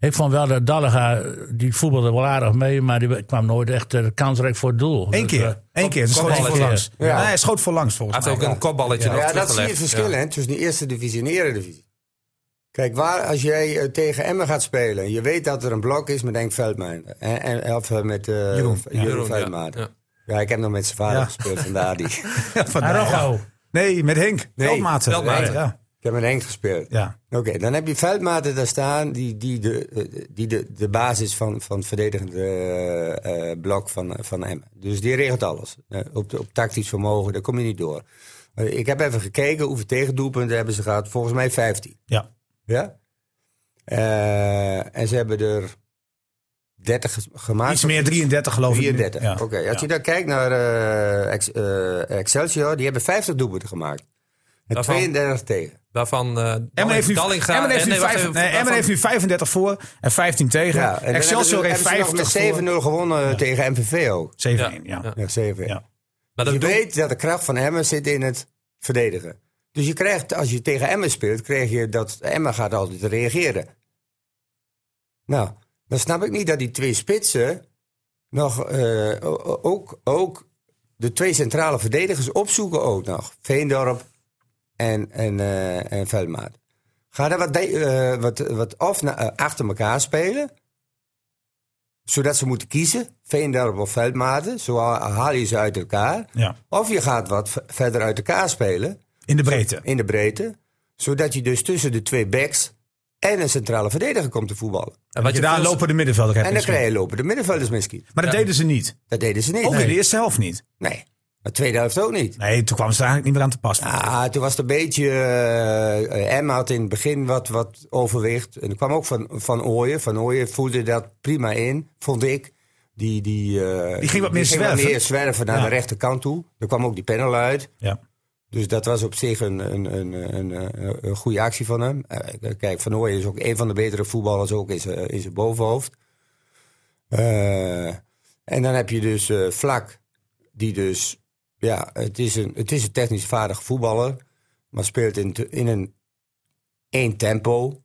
Speaker 1: Ik vond wel dat Dallega, die voetbalde wel aardig mee, maar die kwam nooit echt eh, kansrijk voor het doel.
Speaker 5: Eén
Speaker 1: Dus, eh,
Speaker 5: keer. Eén keer. Ze schoot
Speaker 4: kopballetje.
Speaker 5: voor langs.
Speaker 6: Ja.
Speaker 5: Nee, hij schoot voor langs volgens
Speaker 4: had
Speaker 5: mij.
Speaker 4: ook een kopballetje nog
Speaker 6: Ja, dat zie je het
Speaker 4: teruggelegd.
Speaker 6: verschil hè, tussen de eerste divisie en de eredivisie. Kijk, waar, als jij eh, tegen Emmen gaat spelen, je weet dat er een blok is met Henk Veldmijn. En, en, of eh, met eh, Jeroen,
Speaker 4: Jeroen, ja.
Speaker 6: Veldmaat. Ja.
Speaker 4: Ja.
Speaker 6: ik heb nog met zijn vader
Speaker 5: Ja.
Speaker 6: gespeeld, vandaar die.
Speaker 5: Ja, vandaar, ja.
Speaker 1: oh.
Speaker 5: Nee, met Henk.
Speaker 6: Nee,
Speaker 5: Veldmaten.
Speaker 4: Veldmaten.
Speaker 5: Ja.
Speaker 6: Ik heb met Henk gespeeld.
Speaker 5: Ja.
Speaker 6: Oké, dan heb je Veldmaten daar staan, die, die, de, eh, die de, de basis van, van het verdedigende eh, eh, blok van, van Emmen. Dus die regelt alles. Eh, op, de- op tactisch vermogen, daar kom je niet door. Eh, ik heb even gekeken hoeveel tegendoelpunten hebben ze gehad. Volgens mij 15.
Speaker 5: Ja.
Speaker 6: Ja? Eh, en ze hebben er 30 ges- gemaakt.
Speaker 5: Iets meer 33 geloof ik. nu.
Speaker 6: 34.
Speaker 5: Ja.
Speaker 6: Oké, als je dan kijkt naar eh, Ex- eh, Excelsior, die hebben 50 doelpunten gemaakt. En
Speaker 4: Daarvan-
Speaker 6: 32 tegen.
Speaker 4: Waarvan eh
Speaker 5: Emmen heeft, nu,
Speaker 4: Dallinga...
Speaker 5: Emmen heeft, nu
Speaker 4: nee, wacht
Speaker 5: vijf-
Speaker 4: even,
Speaker 5: nee, Emmen
Speaker 4: waarvan-
Speaker 5: heeft nu 35 voor en 15 tegen.
Speaker 6: Ja, en dan
Speaker 5: Excelsior
Speaker 6: hebben
Speaker 5: heeft
Speaker 6: ze- hebben
Speaker 5: 50
Speaker 6: ze nog
Speaker 5: voor.
Speaker 6: met 7-0 gewonnen tegen MVV ook.
Speaker 5: 7-1, ja.
Speaker 4: Ja.
Speaker 6: Ja, 7
Speaker 5: Ja. Nou,
Speaker 4: Maar dat
Speaker 6: Je
Speaker 4: doet-
Speaker 6: weet dat de kracht van Emmen zit in het verdedigen. Dus je krijgt, als je tegen Emmen speelt, krijg je dat Emmen gaat altijd reageren. Nou, dan snap ik niet dat die twee spitsen nog eh, o- o- ook, ook de twee centrale verdedigers opzoeken ook nog. Veendorp en, en, eh en Veldmaat. Ga daar wat, de- eh, wat, wat of na- eh, achter elkaar spelen zodat ze moeten kiezen, Veendorp of Veldmaten. Zo ha- haal je ze uit elkaar.
Speaker 5: Ja.
Speaker 6: Of je gaat wat v- verder uit elkaar spelen,
Speaker 5: In de breedte.
Speaker 6: in de breedte. Zodat je dus tussen de twee backs en een centrale verdediger komt te voetballen.
Speaker 4: en wat
Speaker 5: Je daar
Speaker 4: veel-
Speaker 5: lopen de middenvelder
Speaker 6: En dan krijg je lopen de middenvelders misschien.
Speaker 5: Maar dat deden ze niet.
Speaker 6: Dat deden ze niet.
Speaker 5: Ook in de
Speaker 6: nee.
Speaker 5: eerste helft niet.
Speaker 6: nee. Maar tweede helft ook niet.
Speaker 5: Nee, toen kwamen ze eigenlijk niet meer aan te pas.
Speaker 6: Ah, toen was het een beetje... eh Emma had in het begin wat, wat overwicht. En er kwam ook van, van Ooyen. Van Ooyen voelde dat prima in, vond ik. Die, die, eh,
Speaker 5: Die ging wat meer zwerven.
Speaker 6: meer zwerven naar
Speaker 5: Ja.
Speaker 6: de rechterkant toe. Er kwam ook die panel uit.
Speaker 5: Ja.
Speaker 6: Dus dat was op zich een, een, een, een, eh, een, een goede actie van hem. Eh, Kijk, Van Ooyen is ook een van de betere voetballers ook in zijn, in zijn bovenhoofd. Eh, en dan heb je dus eh, Vlak, die dus... Ja, het is een, het is een technisch vaardige voetballer, maar speelt in, te- in een één tempo.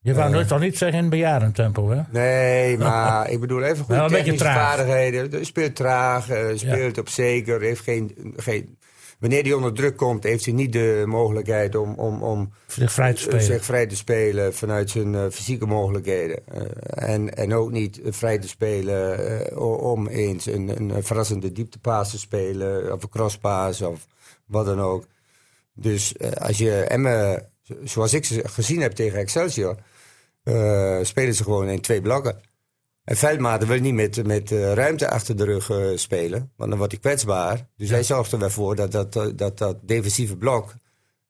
Speaker 1: Je wou nooit toch niet zeggen in bejaardentempo, hè?
Speaker 6: Nee, maar ik bedoel even
Speaker 1: Wel
Speaker 6: goede
Speaker 1: een beetje
Speaker 6: technische
Speaker 1: traag.
Speaker 6: vaardigheden. Dus Speelt traag, eh, speelt op zeker, heeft geen... geen Wanneer hij onder druk komt, heeft hij niet de mogelijkheid om, om, om
Speaker 1: Zich vrij te spelen.
Speaker 6: eh, zich vrij te spelen vanuit zijn eh, fysieke mogelijkheden. Eh, en, en ook niet eh, vrij te spelen eh, o- om eens een, een verrassende dieptepaas te spelen. Of een crosspaas of wat dan ook. Dus eh, als je Emmen, zo- zoals ik ze gezien heb tegen Excelsior, eh, spelen ze gewoon in twee blokken. En Veldmaten wil niet met, met eh, ruimte achter de rug eh, spelen, want dan wordt hij kwetsbaar. Dus hij zorgt er wel voor dat dat, eh, dat, dat defensieve blok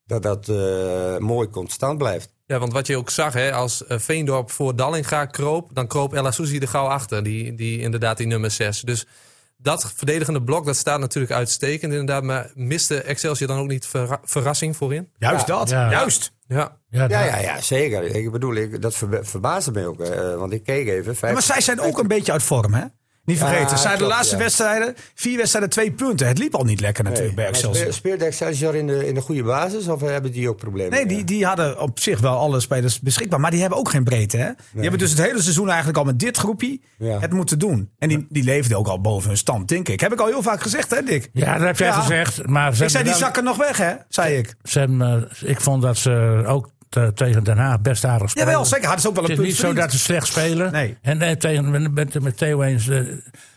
Speaker 6: dat dat eh, mooi constant blijft.
Speaker 4: Ja, want wat je ook zag, hè, als eh, Veendorp voor Dallinga kroop... dan kroop El Azuzi er gauw achter, die, die, inderdaad die nummer 6. Dus dat verdedigende blok, dat staat natuurlijk uitstekend inderdaad. Maar miste Excelsior dan ook niet verra- verrassing voorin?
Speaker 5: Juist dat.
Speaker 1: Ja.
Speaker 5: Juist.
Speaker 4: Ja,
Speaker 1: Ja,
Speaker 6: Ja,
Speaker 1: dat-
Speaker 6: ja, ja, zeker. Ik bedoel, ik, dat verba- verbaasde mij ook. eh, want ik keek even.
Speaker 5: Ja,
Speaker 6: Vijf,
Speaker 5: maar zij zijn ook een beetje uit vorm, hè? Niet vergeten. zij de
Speaker 6: klopt,
Speaker 5: laatste
Speaker 6: ja.
Speaker 5: wedstrijden, vier wedstrijden, twee punten. Het liep al niet lekker natuurlijk bij
Speaker 6: Maar
Speaker 5: Excelsior.
Speaker 6: speel- Speelde Excelsior in de, in de goede basis of eh, hebben die ook problemen?
Speaker 5: Nee, die, die hadden op zich wel alle spelers beschikbaar. Maar die hebben ook geen breedte. Hè? Die hebben dus het hele seizoen eigenlijk al met dit groepje
Speaker 6: Ja.
Speaker 5: het moeten doen. En die, die leefden ook al boven hun stand, denk ik. Heb ik al heel vaak gezegd, hè, Dick?
Speaker 1: Ja, dat heb jij
Speaker 5: Ja.
Speaker 1: gezegd. Maar ze
Speaker 5: Ik zei,
Speaker 1: hebben
Speaker 5: die
Speaker 1: wel-
Speaker 5: zakken nog weg, hè? Zei ik.
Speaker 1: ze hebben, eh, ik vond dat ze ook te- tegen Den Haag best aardig spelen.
Speaker 5: Jawel, zeker. Hadden ze ook wel
Speaker 1: Het is
Speaker 5: een punt
Speaker 1: niet zo
Speaker 5: verdiend.
Speaker 1: dat ze slecht spelen.
Speaker 5: Nee.
Speaker 1: En eh, tegen, met, met, met Theo eens, eh,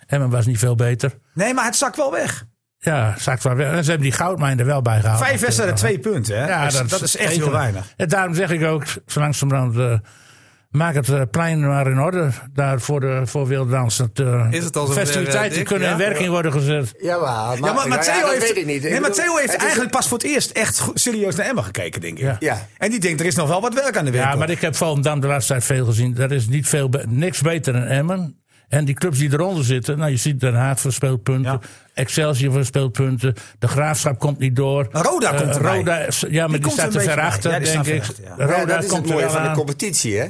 Speaker 1: Emmen was niet veel beter.
Speaker 5: Nee, maar het zak wel weg.
Speaker 1: Ja, zakt wel weer. En ze hebben die goudmijn er wel bij gehouden.
Speaker 5: Vijf wedstrijden,
Speaker 1: Natuurlijk.
Speaker 5: twee punten, hè?
Speaker 1: Ah, Ja,
Speaker 5: Dus dat, is echt heel
Speaker 1: even-
Speaker 5: weinig.
Speaker 1: En daarom zeg ik ook, zo langzamerhand, eh, maak het eh, plein maar in orde. Daar voor, de, voor Wildans. Dat, eh,
Speaker 4: Is het al zover, eh,
Speaker 1: Festiviteiten
Speaker 4: Dick?
Speaker 1: kunnen
Speaker 4: Ja?
Speaker 1: in werking worden gezet.
Speaker 6: Ja, maar,
Speaker 5: Ja, maar, maar
Speaker 6: ja,
Speaker 5: Theo
Speaker 6: dat
Speaker 5: heeft,
Speaker 6: weet ik niet. Ik
Speaker 5: nee, maar
Speaker 6: bedoel,
Speaker 5: Theo heeft
Speaker 6: het is-
Speaker 5: eigenlijk pas voor het eerst echt go- serieus naar Emma gekeken, denk ik.
Speaker 1: Ja.
Speaker 6: Ja.
Speaker 5: En die denkt, er is nog wel wat werk aan de winkel.
Speaker 1: Ja, maar ik heb Volendam de laatste tijd veel gezien. Daar is niet veel, be- niks beter dan Emmen. En die clubs die eronder zitten, nou je ziet Den Haag verspeelt punten.
Speaker 5: Ja.
Speaker 1: Excelsior verspeelt punten. De Graafschap komt niet door.
Speaker 5: Roda
Speaker 1: Eh,
Speaker 5: komt erbij.
Speaker 1: Roda, is- ja, maar die,
Speaker 5: komt er
Speaker 1: staat
Speaker 5: een
Speaker 1: er
Speaker 5: beetje
Speaker 1: ver
Speaker 5: bij.
Speaker 1: achter,
Speaker 5: Ja, die
Speaker 1: denk
Speaker 5: staat
Speaker 1: ik.
Speaker 5: ver achter, ja.
Speaker 1: Roda
Speaker 6: Ja, dat is
Speaker 1: komt
Speaker 6: het
Speaker 1: er
Speaker 6: mooie
Speaker 1: wel
Speaker 6: van de
Speaker 1: aan.
Speaker 6: competitie, hè?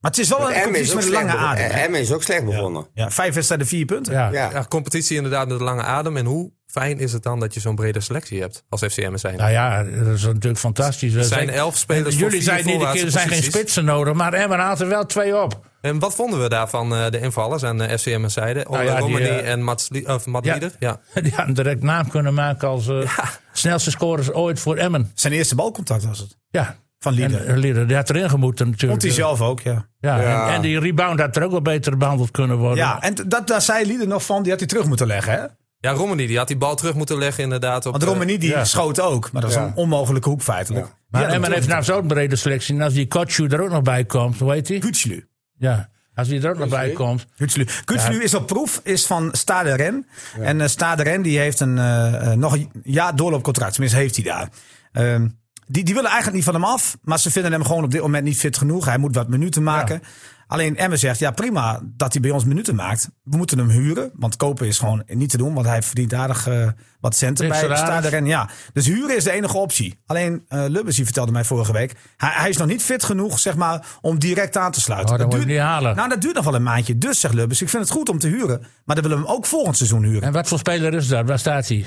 Speaker 5: Maar het is wel een
Speaker 6: Emmen is
Speaker 5: Oh, competitie
Speaker 6: ook
Speaker 5: met een
Speaker 6: slecht
Speaker 5: lange
Speaker 6: begonnen.
Speaker 5: adem. hè?
Speaker 6: Emmen is ook slecht begonnen.
Speaker 5: Ja, vijf wedstrijden, vier punten.
Speaker 1: Ja.
Speaker 6: Ja.
Speaker 4: ja, competitie inderdaad met de lange adem. En hoe fijn is het dan dat je zo'n brede selectie hebt als FCM'er zijn?
Speaker 1: Nou ja, dat is natuurlijk fantastisch.
Speaker 4: er zijn elf spelers voor
Speaker 1: Jullie
Speaker 4: vier
Speaker 1: zijn niet de keer,
Speaker 4: voorwaartse
Speaker 1: er zijn geen
Speaker 4: posities.
Speaker 1: spitsen nodig, maar Emmen haalt er wel twee op.
Speaker 4: En wat vonden we daarvan, eh, de invallers aan de FCM'ers zijde? Ola
Speaker 1: ja, die,
Speaker 4: Romani
Speaker 1: eh,
Speaker 4: en Mats Lie- of Matt
Speaker 1: Ja.
Speaker 4: Lieder? Ja.
Speaker 1: Die hadden direct naam kunnen maken als eh, snelste scorers ooit voor Emmen.
Speaker 5: Zijn eerste balcontact was het.
Speaker 1: Ja.
Speaker 5: Van Lieder.
Speaker 1: En, eh, Lieder, die had erin gemoeten natuurlijk.
Speaker 5: Vond hij zelf ook, ja.
Speaker 1: Ja,
Speaker 6: Ja.
Speaker 1: En, en die rebound had er ook wel beter behandeld kunnen worden.
Speaker 5: Ja, en t- dat, daar zei Lieder nog van, die had hij terug moeten leggen. Hè?
Speaker 4: Ja, Romani die had die bal terug moeten leggen inderdaad. Op, eh,
Speaker 5: Want Romani die
Speaker 1: ja.
Speaker 5: schoot ook, maar dat was
Speaker 6: Ja.
Speaker 5: een onmogelijke hoek feitelijk.
Speaker 1: maar
Speaker 5: Ja,
Speaker 1: Emmen heeft nou zo'n brede selectie. En als die Kotschu er ook nog bij komt, hoe heet die?
Speaker 5: Gutslu.
Speaker 1: Ja, als die er ook nog bij komt.
Speaker 5: Gutslu. Gutslu is op proef, is van Stade Ren. En eh, Stade Ren die heeft een, eh, eh, nog een jaar doorloopcontract, tenminste heeft hij daar. Ehm, die, die willen eigenlijk niet van hem af, maar ze vinden hem gewoon op dit moment niet fit genoeg. Hij moet wat minuten maken. Alleen Emmen zegt, ja prima dat hij bij ons minuten maakt. We moeten hem huren, want kopen is gewoon niet te doen. Want hij verdient aardig eh, wat centen
Speaker 1: Niks
Speaker 5: bij
Speaker 1: salaris.
Speaker 5: Stade Ren. Ja. Dus huren is de enige optie. Alleen eh Lubbers die vertelde mij vorige week, hij, hij is nog niet fit genoeg zeg maar, om direct aan te sluiten.
Speaker 1: Oh, dat moet je niet halen.
Speaker 5: Nou, dat duurt nog wel een maandje. Dus, zegt Lubbers, ik vind het goed om te huren. Maar dan willen we hem ook volgend seizoen huren.
Speaker 1: En wat voor speler is dat? Waar staat hij?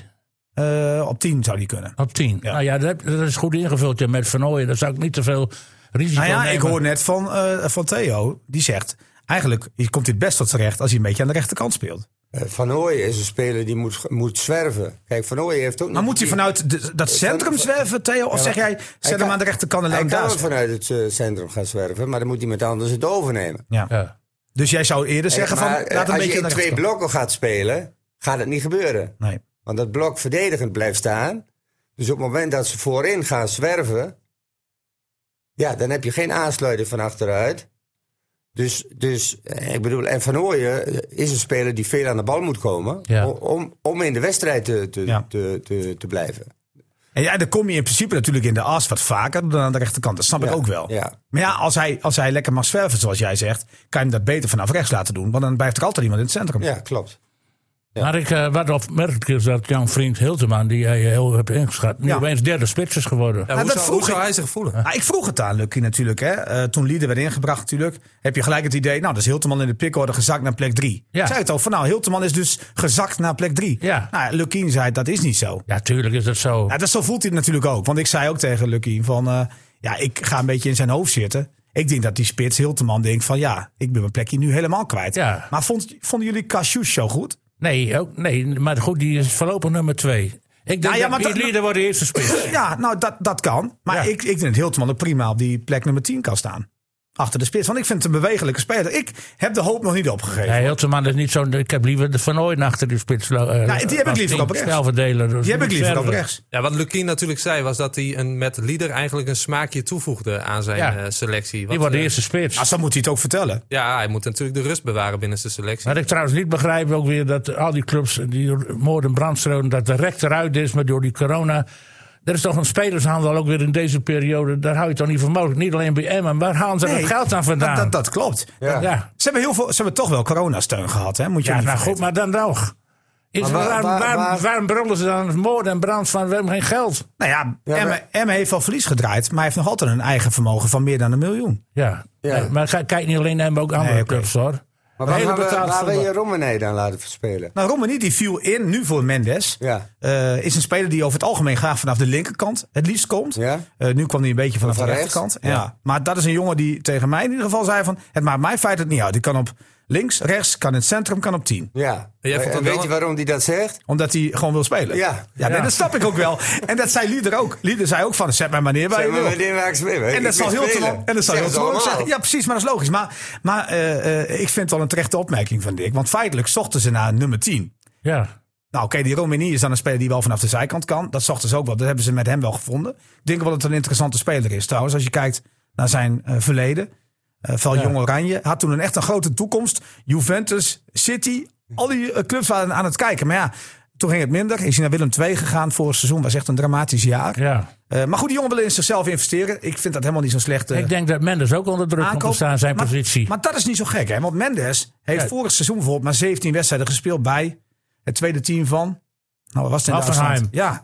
Speaker 5: Eh, op 10 zou die kunnen.
Speaker 1: Op 10. Nou ja, dat, dat is goed ingevuld ja, met Van Ooyen. Daar zou ik niet te veel risico
Speaker 5: Nou ja,
Speaker 1: nemen.
Speaker 5: ik hoor net van, eh, van Theo, die zegt... Eigenlijk komt dit best tot terecht als hij een beetje aan de rechterkant speelt.
Speaker 6: Eh, Van Ooyen is een speler die moet, moet zwerven. Kijk, Van Ooyen heeft ook niet...
Speaker 5: Maar moet hij vanuit de- dat centrum zwerven, Theo? Of zeg jij, zet hem
Speaker 6: kan-
Speaker 5: aan de rechterkant en
Speaker 6: Hij
Speaker 5: laat
Speaker 6: kan
Speaker 5: hem daar
Speaker 6: ook
Speaker 5: zitten?
Speaker 6: vanuit het eh, centrum gaan zwerven, maar dan moet iemand anders het overnemen.
Speaker 5: Ja.
Speaker 1: Ja.
Speaker 5: Dus jij zou eerder zeggen van,
Speaker 6: Maar, eh,
Speaker 5: laat een
Speaker 6: als
Speaker 5: beetje
Speaker 6: je
Speaker 5: aan
Speaker 6: in
Speaker 5: de
Speaker 6: twee
Speaker 5: rechterkant.
Speaker 6: blokken gaat spelen, gaat het niet gebeuren.
Speaker 5: Nee.
Speaker 6: Want dat blok verdedigend blijft staan. Dus op het moment dat ze voorin gaan zwerven. Ja, dan heb je geen aansluiting van achteruit. Dus, dus eh, ik bedoel, en Van Ooyen eh, is een speler die veel aan de bal moet komen.
Speaker 1: Ja.
Speaker 6: o- Om, om in de wedstrijd te, te,
Speaker 5: Ja.
Speaker 6: te, te, te blijven.
Speaker 5: En ja, dan kom je in principe natuurlijk in de as wat vaker dan aan de rechterkant. Dat snap ik
Speaker 6: Ja,
Speaker 5: ook wel.
Speaker 6: ja.
Speaker 5: Maar ja, als hij, als hij lekker mag zwerven, zoals jij zegt, kan je hem dat beter vanaf rechts laten doen. Want dan blijft er altijd iemand in het centrum.
Speaker 6: Ja, klopt.
Speaker 1: Maar ik, eh, wat opmerkelijk is dat jouw vriend Hilteman, die jij heel hebt ingeschat, nu
Speaker 5: Ja.
Speaker 1: opeens derde spits is geworden.
Speaker 4: Ja,
Speaker 5: Nou,
Speaker 4: hoe,
Speaker 5: dat
Speaker 4: zou,
Speaker 5: vroeg
Speaker 4: hoe zou
Speaker 5: ik.
Speaker 4: hij zich voelen?
Speaker 5: Ah, ik vroeg het aan Lucky natuurlijk. Hè. Eh, toen Lieder werd ingebracht natuurlijk, heb je gelijk het idee... nou, dus Hilteman in de pickorde gezakt naar plek 3.
Speaker 1: Ja.
Speaker 5: Ik zei het al, van nou, Hilteman is dus gezakt naar plek 3.
Speaker 1: Ja.
Speaker 5: Nou, Lucky zei dat is niet zo.
Speaker 1: Ja, tuurlijk is dat zo.
Speaker 5: Ja, dat zo voelt hij het natuurlijk ook. Want ik zei ook tegen Lucky van... eh, ja, ik ga een beetje in zijn hoofd zitten. Ik denk dat die spits Hilteman denkt van... ja, ik ben mijn plekje nu helemaal kwijt.
Speaker 1: Ja.
Speaker 5: Maar vond, vonden jullie Cassius zo goed?
Speaker 1: Nee, ook, nee, maar goed, die is voorlopig nummer twee. Ik denk
Speaker 5: Nou ja, maar
Speaker 1: dat die
Speaker 5: dat-
Speaker 1: leader wordt de eerste spits.
Speaker 5: Ja, nou, dat, dat kan. Maar
Speaker 1: Ja.
Speaker 5: ik, ik vind het Hilteman ook prima op die plek nummer 10 kan staan. Achter de spits. Want ik vind het een bewegelijke speler. Ik heb de hoop nog niet opgegeven.
Speaker 1: Nee, Hilteman is niet zo'n... Ik heb liever de Van Ooyen achter die spits. Nou,
Speaker 5: die heb ik liever op rechts.
Speaker 1: Snelverdeler. dus
Speaker 5: die heb ik
Speaker 1: moet
Speaker 5: liever op
Speaker 1: verder.
Speaker 5: rechts.
Speaker 4: Ja, wat Lukien natuurlijk zei was dat hij een, met Lieder eigenlijk een smaakje toevoegde aan zijn
Speaker 1: Ja.
Speaker 4: eh, selectie. Wat,
Speaker 1: Die wordt de
Speaker 4: eh,
Speaker 1: eerste spits.
Speaker 5: Als dan moet hij het ook vertellen.
Speaker 4: Ja, hij moet natuurlijk de rust bewaren binnen zijn selectie.
Speaker 1: Wat ik trouwens niet begrijp ook weer dat al die clubs, die moord en brandstreun, dat de rechter uit is, maar door die corona. Er is toch een spelershandel ook weer in deze periode. Daar hou je toch niet van mogelijk. Niet alleen bij Emmen. Waar halen ze dat
Speaker 5: Nee,
Speaker 1: geld aan vandaan?
Speaker 5: Dat, dat, dat klopt.
Speaker 6: Ja.
Speaker 1: ja.
Speaker 5: Ze hebben, heel veel, ze hebben toch wel coronasteun gehad, hè? Moet je
Speaker 1: ja,
Speaker 5: niet
Speaker 1: nou
Speaker 5: vergeten.
Speaker 1: goed, maar dan nog. Is,
Speaker 6: Maar waar-
Speaker 1: waarom-
Speaker 6: waar-
Speaker 1: waarom-
Speaker 6: waar-
Speaker 1: waarom brullen ze dan moord en brand van we hebben geen geld?
Speaker 5: Nou ja,
Speaker 6: Ja,
Speaker 5: Emme,
Speaker 6: maar-
Speaker 5: Emme heeft wel verlies gedraaid. Maar hij heeft nog altijd een eigen vermogen van meer dan een miljoen.
Speaker 1: Ja.
Speaker 6: Ja.
Speaker 1: Nee, maar ga- kijk niet alleen Emmen, ook andere
Speaker 5: Nee, oké.
Speaker 1: clubs hoor.
Speaker 6: Maar
Speaker 1: Een
Speaker 6: waar,
Speaker 1: hele
Speaker 6: gaan we-
Speaker 1: betaald
Speaker 6: waar wil
Speaker 1: voetbal.
Speaker 6: je Rommenij dan laten verspelen?
Speaker 5: Nou, Romani die viel in nu voor Mendes.
Speaker 6: Ja.
Speaker 5: Eh, is een speler die over het algemeen graag vanaf de linkerkant het liefst komt.
Speaker 6: Ja.
Speaker 5: Eh, nu kwam hij een beetje vanaf
Speaker 6: Van
Speaker 5: de
Speaker 6: rechts?
Speaker 5: rechterkant. Ja. Maar dat is een jongen die tegen mij in ieder geval zei van... het maakt mij feit het niet uit. Ik kan op links, rechts, kan in het centrum, kan op tien.
Speaker 6: Ja.
Speaker 4: jij vond
Speaker 6: En
Speaker 4: het wel
Speaker 6: weet je
Speaker 4: een-
Speaker 6: waarom die dat zegt?
Speaker 5: Omdat hij gewoon wil spelen.
Speaker 6: Ja.
Speaker 5: ja, nee,
Speaker 1: Ja.
Speaker 5: dat snap ik ook wel. En dat zei Lieder ook. Lieder zei ook van, zet mij maar neer bij
Speaker 6: Zijn
Speaker 5: je
Speaker 6: we
Speaker 5: wil.
Speaker 6: met die waar ik speel?
Speaker 5: En dat,
Speaker 6: Ik
Speaker 5: zal
Speaker 6: wil
Speaker 5: heel te
Speaker 6: spelen.
Speaker 5: lang, en dat zal heel
Speaker 6: Zeggen
Speaker 5: te
Speaker 6: ze
Speaker 5: lang
Speaker 6: allemaal.
Speaker 5: zijn. Ja, precies, maar dat is logisch. Maar, maar eh, eh, ik vind het wel een terechte opmerking van Dick. Want feitelijk zochten ze naar nummer 10.
Speaker 1: Ja.
Speaker 5: Nou, oké, die Romani is dan een speler die wel vanaf de zijkant kan. Dat zochten ze ook wel. Dat hebben ze met hem wel gevonden. Ik denk wel dat het een interessante speler is trouwens. Als je kijkt naar zijn eh, verleden. Eh van Jong Oranje. Had toen een echt een grote toekomst. Juventus, City. Al die eh, clubs waren aan het kijken. Maar ja, toen ging het minder. Is hij naar Willem II gegaan vorig seizoen. Was echt een dramatisch jaar.
Speaker 1: ja.
Speaker 5: Eh, maar goed, die jongen wil in zichzelf investeren. Ik vind dat helemaal niet zo'n slechte
Speaker 1: Ik denk dat Mendes ook onder druk komt te
Speaker 5: aankoop.
Speaker 1: staan, zijn
Speaker 5: maar,
Speaker 1: positie.
Speaker 5: Maar dat is niet zo gek, hè? Want Mendes heeft
Speaker 1: Ja.
Speaker 5: vorig seizoen bijvoorbeeld maar 17 wedstrijden gespeeld bij het tweede team van. Nou, wat was het in
Speaker 1: Hoffenheim.
Speaker 5: Duitsland? Ja.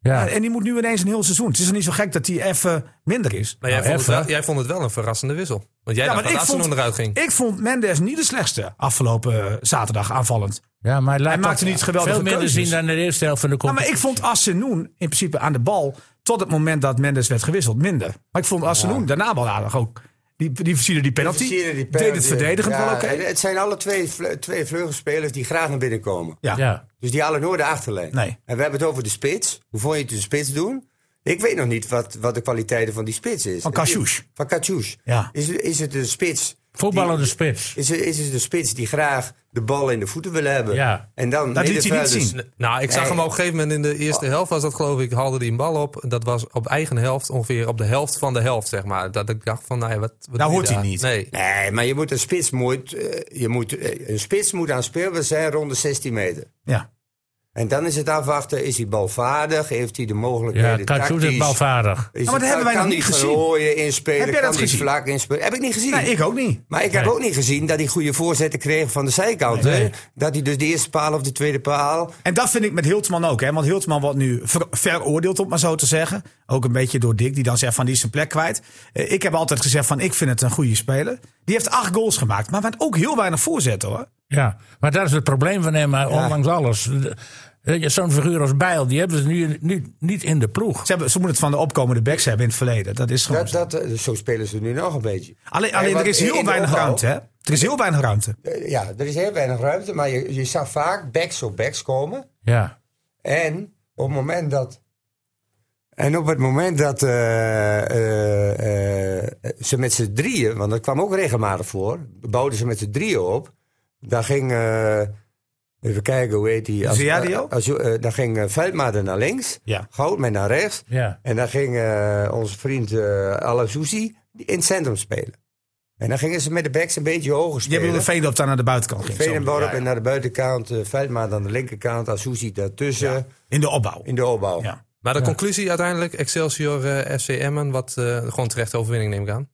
Speaker 1: Ja.
Speaker 5: En die moet nu ineens een heel seizoen. Het is dan niet zo gek dat die even minder is.
Speaker 4: Maar jij,
Speaker 1: Nou,
Speaker 4: vond het
Speaker 1: even,
Speaker 4: wel,
Speaker 1: hè?
Speaker 4: jij vond het wel een verrassende wissel. Want jij
Speaker 5: Ja,
Speaker 4: dacht
Speaker 5: maar
Speaker 4: dat
Speaker 5: ik
Speaker 4: Assenhoorn
Speaker 5: vond-
Speaker 4: eruit ging.
Speaker 5: Ik vond Mendes niet de slechtste afgelopen eh, zaterdag aanvallend.
Speaker 1: Ja, maar hij, laat
Speaker 5: Hij maakte
Speaker 1: toch
Speaker 5: niet geweldige
Speaker 1: Veel minder
Speaker 5: keuzes.
Speaker 1: zien dan in de eerste helft van de
Speaker 5: Ja, Nou, maar
Speaker 1: competitie.
Speaker 5: ik vond Assenoen in principe aan de bal tot het moment dat Mendes werd gewisseld minder. Maar ik vond Assenoen daarna wel aardig ook. Die, die versierde die penalty.
Speaker 6: Versieren die
Speaker 5: Deed het
Speaker 6: penalty.
Speaker 5: verdedigend
Speaker 6: Ja,
Speaker 5: wel oké.
Speaker 6: en Het zijn alle twee, vle- twee vleugelspelers die graag naar binnen komen.
Speaker 5: Ja.
Speaker 1: Ja.
Speaker 6: Dus die halen nooit de achterlijn.
Speaker 5: Nee.
Speaker 6: En we hebben het over de spits. Hoe vond je het de spits doen? Ik weet nog niet wat, wat de kwaliteiten van die spits is.
Speaker 5: Van Katsjoes.
Speaker 6: Van Katsjoes.
Speaker 5: Ja.
Speaker 6: Is, is het de spits...
Speaker 1: Voetballende
Speaker 6: die-
Speaker 1: spits.
Speaker 6: Is, is het de spits die graag de bal in de voeten wil hebben?
Speaker 1: Ja.
Speaker 6: En dan
Speaker 5: Dat liet hij niet
Speaker 6: middenvelders-
Speaker 5: zien.
Speaker 4: Nou, ik zag
Speaker 6: Nee.
Speaker 4: hem op een gegeven moment in de eerste helft, was dat geloof ik, haalde hij een bal op. Dat was op eigen helft, ongeveer op de helft van de helft, zeg maar. Dat ik dacht van, nou ja, wat... wat doe je
Speaker 5: hoort hij niet.
Speaker 4: Nee.
Speaker 6: Nee, maar je moet een spits moet, eh, je moet, eh, een spits moet aan speelbaar zijn rond de 16 meter.
Speaker 5: Ja.
Speaker 6: En dan is het afwachten, is hij balvaardig? Heeft hij de
Speaker 1: Ja,
Speaker 6: mogelijkheden
Speaker 1: Katsoen is
Speaker 6: tactisch?
Speaker 1: balvaardig.
Speaker 6: Is
Speaker 5: Maar dat
Speaker 6: het-
Speaker 5: hebben wij
Speaker 6: kan
Speaker 5: nog
Speaker 6: die
Speaker 5: niet gezien.
Speaker 6: Verhooyen inspelen,
Speaker 5: Heb jij
Speaker 6: kan
Speaker 5: dat
Speaker 6: die
Speaker 5: gezien?
Speaker 6: vlak inspelen. Heb ik niet gezien.
Speaker 5: Nee, ik ook niet.
Speaker 6: Maar ik heb ook niet gezien dat hij goede voorzetten kreeg van de zijkant. hè? Dat hij dus de eerste paal of de tweede paal.
Speaker 5: En dat vind ik met Hiltman ook. Hè? Want Hiltman wordt nu ver- veroordeeld, om maar zo te zeggen. Ook een beetje door Dick, die dan zegt van die is zijn plek kwijt. Eh, ik heb altijd gezegd van ik vind het een goede speler. Die heeft acht goals gemaakt, maar met ook heel weinig voorzetten hoor.
Speaker 1: Ja, maar dat is het probleem van hem, maar ondanks alles. De- weet je, Zo'n figuur als Bijl, die hebben ze nu, nu niet in de ploeg.
Speaker 5: Ze, hebben, ze moeten het van de opkomende backs hebben in het verleden. Dat is gewoon
Speaker 6: Dat,
Speaker 5: zo.
Speaker 6: dat, eh, zo spelen ze nu nog een beetje.
Speaker 5: Alleen,
Speaker 6: Nee,
Speaker 5: alleen
Speaker 6: want
Speaker 5: er is
Speaker 6: in-
Speaker 5: heel
Speaker 6: in de
Speaker 5: weinig
Speaker 6: opbouw-
Speaker 5: ruimte hè. Er is heel weinig ruimte.
Speaker 6: Eh, Ja, er is heel weinig ruimte. Maar je, je zag vaak backs op backs komen.
Speaker 1: Ja,
Speaker 6: En op het moment dat. En op het moment dat eh, eh, eh, ze met z'n drieën, want dat kwam ook regelmatig voor, bouwden ze met z'n drieën op. Daar ging, eh, even kijken, hoe heet die?
Speaker 5: Ziadio?
Speaker 6: als, eh, daar ging eh, Veldmaten naar links,
Speaker 5: Ja.
Speaker 6: Goudman naar rechts.
Speaker 1: ja.
Speaker 6: En daar ging eh, onze vriend eh Alassouzi in het centrum spelen. En dan gingen ze met de backs een beetje hoger
Speaker 5: Je
Speaker 6: spelen.
Speaker 5: bedoelde Veendorp dan naar de buitenkant ging. zo.
Speaker 6: Vedenborp en naar de buitenkant, eh Veldmaat aan de linkerkant, Azuzi daartussen
Speaker 5: In de opbouw.
Speaker 6: in de opbouw.
Speaker 5: Ja.
Speaker 4: Maar de conclusie uiteindelijk, Excelsior eh FC Emmen, wat eh, gewoon terechte overwinning neem ik aan.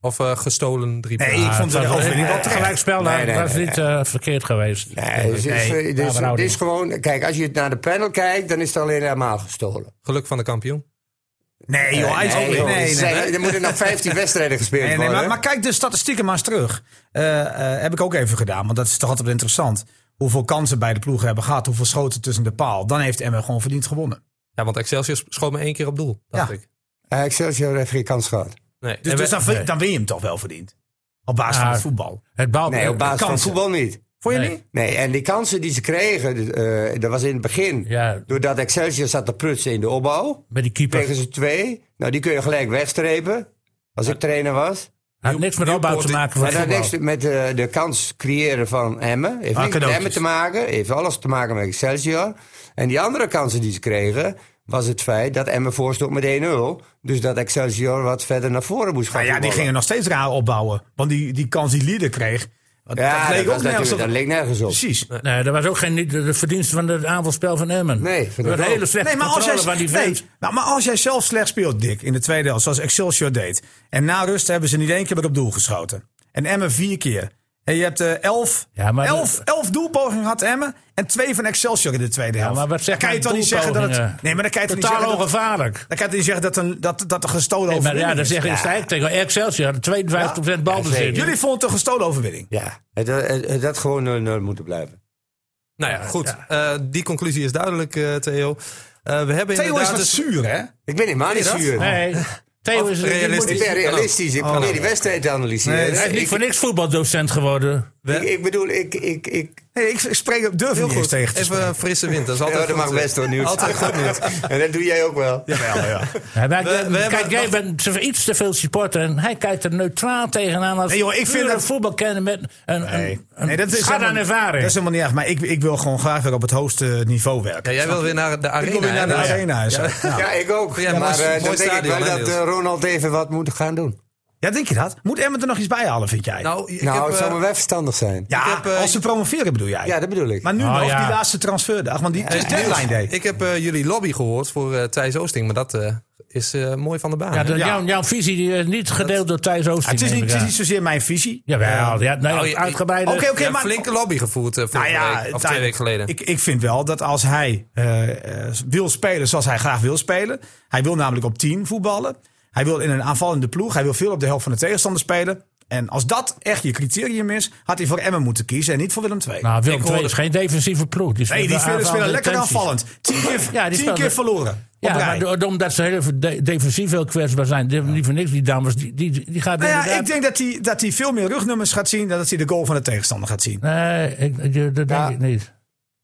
Speaker 4: Of eh, gestolen drie
Speaker 5: Nee, ik
Speaker 4: punten.
Speaker 5: vond
Speaker 1: Dat
Speaker 5: het
Speaker 1: was-
Speaker 5: overwinning wel
Speaker 1: dat
Speaker 5: terecht.
Speaker 1: gelijkspel
Speaker 6: Nee,
Speaker 1: dat
Speaker 6: nee,
Speaker 1: was
Speaker 6: nee,
Speaker 1: niet eh, verkeerd geweest.
Speaker 6: Nee, dus,
Speaker 1: Nee,
Speaker 6: dus- dus-
Speaker 1: maar
Speaker 6: dit is gewoon, kijk, als je het naar de panel kijkt, dan is het alleen helemaal gestolen.
Speaker 4: Geluk van de kampioen.
Speaker 5: Nee joh, hij Ah, is ook- nee,
Speaker 6: joh,
Speaker 5: nee,
Speaker 6: ze-
Speaker 5: nee.
Speaker 6: Er moeten nog 15 wedstrijden gespeeld
Speaker 5: Nee, nee,
Speaker 6: worden.
Speaker 5: maar, maar kijk de statistieken maar eens terug. Eh, eh, heb ik ook even gedaan, want dat is toch altijd wel interessant. Hoeveel kansen beide ploegen hebben gehad, hoeveel schoten tussen de paal. Dan heeft Emmen gewoon verdiend gewonnen.
Speaker 4: Ja, want Excelsior schoot me één keer op doel, dacht
Speaker 5: Ja.
Speaker 4: ik.
Speaker 6: Eh, Excelsior heeft geen kans gehad.
Speaker 4: Nee.
Speaker 5: Dus,
Speaker 4: En
Speaker 5: dus
Speaker 4: we-
Speaker 5: dan, win- dan win je hem toch wel verdiend. Op basis van
Speaker 1: Ah.
Speaker 5: het voetbal.
Speaker 1: Het bal,
Speaker 6: Nee, op basis van
Speaker 5: kansen.
Speaker 6: voetbal niet.
Speaker 5: Vond je
Speaker 1: Nee.
Speaker 5: niet?
Speaker 6: Nee, en die kansen die ze kregen, eh, dat was in het begin.
Speaker 1: Ja.
Speaker 6: Doordat Excelsior zat te prutsen in de opbouw,
Speaker 1: met die keeper.
Speaker 6: kregen ze twee. Nou, die kun je gelijk wegstrepen, als ik trainer was.
Speaker 1: had niks met opbouw te maken van
Speaker 6: Maar dat heeft niks
Speaker 1: voetbal.
Speaker 6: met eh, de kans creëren van Emmen. Heeft
Speaker 5: Ah,
Speaker 6: niks met
Speaker 5: cadeautjes.
Speaker 6: Emmen te maken. Heeft alles te maken met Excelsior. En die andere kansen die ze kregen... was het feit dat Emmen voorstond met 1-0. Dus dat Excelsior wat verder naar voren moest gaan
Speaker 5: Nou ja, die
Speaker 6: voetballen.
Speaker 5: gingen nog steeds raar opbouwen. Want die, die kans die Lieder kreeg. Dat,
Speaker 6: Ja, dat,
Speaker 5: leek
Speaker 6: was
Speaker 5: ook nergens
Speaker 6: natuurlijk-
Speaker 5: op.
Speaker 6: dat leek nergens op.
Speaker 5: Precies.
Speaker 1: Nee, dat was ook geen niet de verdienste van het aanvalspel van Emmen.
Speaker 6: Nee,
Speaker 1: dat
Speaker 6: vind
Speaker 1: was
Speaker 6: ik
Speaker 1: een
Speaker 6: ook.
Speaker 1: hele slechte
Speaker 5: Nee, maar als, jij,
Speaker 1: controle van die
Speaker 5: nee,
Speaker 1: vent.
Speaker 5: nou, maar als jij zelf slecht speelt, Dick, in de tweede helft, zoals Excelsior deed. En na rust hebben ze niet één keer meer op doel geschoten. En Emmen vier keer. En je hebt eh, elf,
Speaker 1: Ja, maar-
Speaker 5: elf, elf doelpogingen had Emmen. En twee van Excelsior in de tweede helft.
Speaker 1: maar wat zeg
Speaker 5: kan je
Speaker 1: je
Speaker 5: toch niet zeggen dat het.
Speaker 1: doelpogingen?
Speaker 5: Nee, maar dan kan je toch niet zeggen
Speaker 1: Totaal
Speaker 5: dat, dan
Speaker 1: ongevaarlijk.
Speaker 5: kan je toch niet zeggen dat een, dat, dat een gestolen
Speaker 1: Nee, maar
Speaker 5: overwinning
Speaker 1: ja, dan
Speaker 5: is.
Speaker 1: zeg je
Speaker 5: Ja.
Speaker 1: sterk tegen Excelsior. 52% balbezit.
Speaker 5: Jullie vonden het een gestolen overwinning.
Speaker 6: Ja, het, eh, het, het had gewoon 0-0 moeten blijven.
Speaker 4: Nou ja, goed. Eh, die conclusie is duidelijk, eh, Theo. Eh, we hebben
Speaker 5: Theo is
Speaker 4: inderdaad
Speaker 5: wat
Speaker 4: dus-
Speaker 5: zuur, hè?
Speaker 6: Ik ben helemaal niet zuur.
Speaker 1: Nee, Theo
Speaker 4: Of
Speaker 1: is
Speaker 4: realistisch.
Speaker 6: Ik ben realistisch. Ik probeer
Speaker 5: Oh.
Speaker 6: die wedstrijd te analyseren.
Speaker 1: Hij is niet
Speaker 6: ik,
Speaker 1: voor niks voetbaldocent geworden.
Speaker 6: ik, ik bedoel, ik... ik, ik
Speaker 5: Nee, ik spreek op durf niet eens tegen te
Speaker 4: Even frisse wind, dat is
Speaker 6: ja,
Speaker 4: altijd
Speaker 6: dat
Speaker 4: goed,
Speaker 6: mag
Speaker 4: eh.
Speaker 6: best hoor, nieuws.
Speaker 4: Altijd goed nieuws.
Speaker 6: En dat doe jij ook wel.
Speaker 5: spreken. Ja, ja.
Speaker 1: Hij wij,
Speaker 4: we hebben-
Speaker 1: kijk, jij bent te- iets te veel supporter en hij kijkt er neutraal tegenaan als
Speaker 5: Nee, joh, ik vind
Speaker 1: pure
Speaker 5: dat-
Speaker 1: voetbalkenner met een,
Speaker 5: Nee.
Speaker 1: een, een
Speaker 5: Nee, dat is
Speaker 1: schat aan
Speaker 5: helemaal- Dat
Speaker 1: ervaring.
Speaker 5: is helemaal niet erg, maar ik, ik wil gewoon graag weer op het hoogste niveau werken.
Speaker 4: Ja, jij wil weer naar de arena.
Speaker 5: ik wil weer naar de
Speaker 4: hè? Ja.
Speaker 5: arena. en zo. Ja.
Speaker 6: Ja, ik ook.
Speaker 4: Nou. Ja, mooi-
Speaker 6: maar eh,
Speaker 4: mooi
Speaker 6: dan denk ik
Speaker 4: stadion,
Speaker 6: wel
Speaker 4: hè,
Speaker 6: dat
Speaker 4: Niels?
Speaker 6: eh, Ronald even wat moet gaan doen.
Speaker 5: Ja, denk je dat? Moet Emmen er nog iets bij halen, vind jij?
Speaker 4: Nou, ik
Speaker 6: nou,
Speaker 4: heb,
Speaker 6: het
Speaker 4: eh,
Speaker 6: zou maar wel verstandig zijn. Ja,
Speaker 5: ja,
Speaker 4: ik heb, eh,
Speaker 5: als ze promoveren bedoel jij.
Speaker 6: dat bedoel ik.
Speaker 5: Maar nu
Speaker 1: Oh,
Speaker 5: nog,
Speaker 1: ja.
Speaker 5: die laatste transferdag, want die het is
Speaker 4: Niels,
Speaker 5: deadline day.
Speaker 4: Ik heb eh, jullie lobby gehoord voor eh Thijs Oosting, maar dat eh, is eh, mooi van de baan.
Speaker 1: Ja,
Speaker 4: hè?
Speaker 1: de-
Speaker 5: Ja. dus- Ah,
Speaker 1: Jouw, jouw visie die is niet gedeeld door Thijs Oosting.
Speaker 5: het, is niet,
Speaker 1: neem
Speaker 5: het
Speaker 1: ik
Speaker 5: is
Speaker 1: aan.
Speaker 5: niet zozeer mijn visie.
Speaker 1: Jawel, ja, nou,
Speaker 4: Oh, ja,
Speaker 1: uitgebreide...
Speaker 5: Oké, oké,
Speaker 4: Je hebt
Speaker 5: maar...
Speaker 4: flinke lobby gevoerd eh, vorige
Speaker 5: Nou ja,
Speaker 4: week, of
Speaker 5: Tijn,
Speaker 4: twee weken geleden.
Speaker 5: Ik, ik vind wel dat als hij eh, eh, wil spelen zoals hij graag wil spelen. Hij wil namelijk op 10 voetballen. Hij wil in een aanvallende ploeg. Hij wil veel op de helft van de tegenstander spelen. En als dat echt je criterium is, had hij voor Emmen moeten kiezen en niet voor Willem II.
Speaker 1: Nou, Willem
Speaker 5: Ik
Speaker 1: II
Speaker 5: hoorde-
Speaker 1: is geen defensieve ploeg.
Speaker 5: Nee, die spelen, spelen
Speaker 1: aanvallende
Speaker 5: lekker
Speaker 1: intenties.
Speaker 5: aanvallend. Tien keer,
Speaker 1: Ja, die
Speaker 5: tien
Speaker 1: spelen-
Speaker 5: keer verloren.
Speaker 1: Ja,
Speaker 5: op rij.
Speaker 1: maar do- omdat ze heel de- defensief heel kwetsbaar zijn. Die, Niet voor niks, die dames, die, die, die gaat
Speaker 5: nou ja,
Speaker 1: inderdaad-
Speaker 5: ik denk dat hij, dat hij veel meer rugnummers gaat zien dan dat hij de goal van de tegenstander gaat zien.
Speaker 1: Nee, ik, ik- dat denk
Speaker 6: Ja.
Speaker 1: ik niet.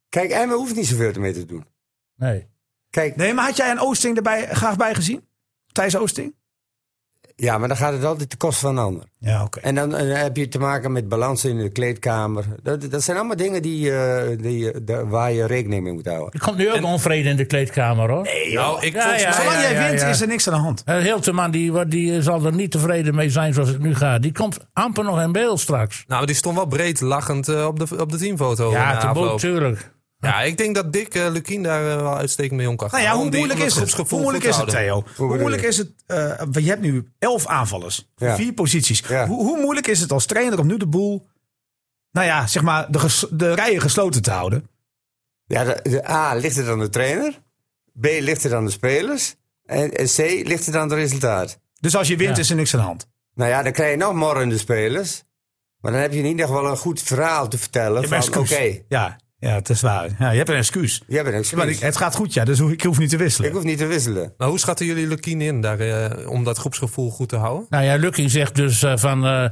Speaker 6: Kijk, Emmen hoeft niet zoveel ermee te doen.
Speaker 1: Nee.
Speaker 6: Kijk,
Speaker 5: Nee, maar had jij een Oosting erbij eh, graag bij gezien? Thijs Oosting?
Speaker 6: ja, maar dan gaat het altijd ten koste van een ander.
Speaker 5: Ja, oké.
Speaker 6: En dan eh, heb je te maken met balans in de kleedkamer. Dat, dat zijn allemaal dingen die, eh, die, eh, daar- waar je rekening mee moet houden.
Speaker 1: Er komt nu ook onvrede in de kleedkamer, hoor.
Speaker 4: nou, ik
Speaker 1: Ja,
Speaker 4: volgens
Speaker 1: ja,
Speaker 4: mij-
Speaker 5: Zolang jij wint,
Speaker 1: ja.
Speaker 5: is er niks aan de hand.
Speaker 1: Eh, Hilteman die, wa- die eh, zal er niet tevreden mee zijn zoals het nu gaat. Die komt amper nog in beeld straks.
Speaker 4: Nou, die stond wel breed lachend eh, op, de, op de teamfoto. na
Speaker 1: Ja, te boel,
Speaker 4: afloop.
Speaker 1: tuurlijk.
Speaker 4: Ja, ik denk dat Dick eh, Lukien daar eh, wel uitstekend mee om kan gaan.
Speaker 5: Nou ja, hoe
Speaker 4: Om die- om
Speaker 5: moeilijk is het?
Speaker 4: groepsgevoel
Speaker 5: Hoe moeilijk
Speaker 4: goed
Speaker 5: is
Speaker 4: te
Speaker 5: het,
Speaker 4: houden.
Speaker 5: Theo? Hoe
Speaker 6: bedoel
Speaker 5: moeilijk
Speaker 6: je?
Speaker 5: is het? eh, want je hebt nu elf aanvallers. voor
Speaker 6: Ja.
Speaker 5: Vier posities.
Speaker 6: Ja.
Speaker 5: Hoe, hoe moeilijk is het als trainer om nu de boel... Nou ja, zeg maar, de, ges- de rijen gesloten te houden.
Speaker 6: Ja, de, de A, ligt het aan de trainer? B, ligt het aan de spelers? En, en C, ligt het aan het resultaat?
Speaker 5: Dus als je wint,
Speaker 1: Ja.
Speaker 5: is er niks aan de hand.
Speaker 6: Nou ja, dan krijg je nog morrende spelers. Maar dan heb je in ieder geval een goed verhaal te vertellen.
Speaker 5: Je hebt
Speaker 6: van,
Speaker 5: een
Speaker 6: Oké,
Speaker 5: excuus. Ja, ja, het is waar. Ja, je hebt een excuus.
Speaker 6: je hebt een
Speaker 5: Ja, maar
Speaker 6: excuus.
Speaker 5: ik-
Speaker 6: ik,
Speaker 5: het gaat goed, ja, dus hoe- ik hoef niet te wisselen.
Speaker 6: hoef niet te wisselen.
Speaker 4: Maar Nou, hoe schatten jullie Lukien in daar, eh, om dat groepsgevoel goed te houden?
Speaker 1: Nou ja, Lukking zegt dus eh, van. eh,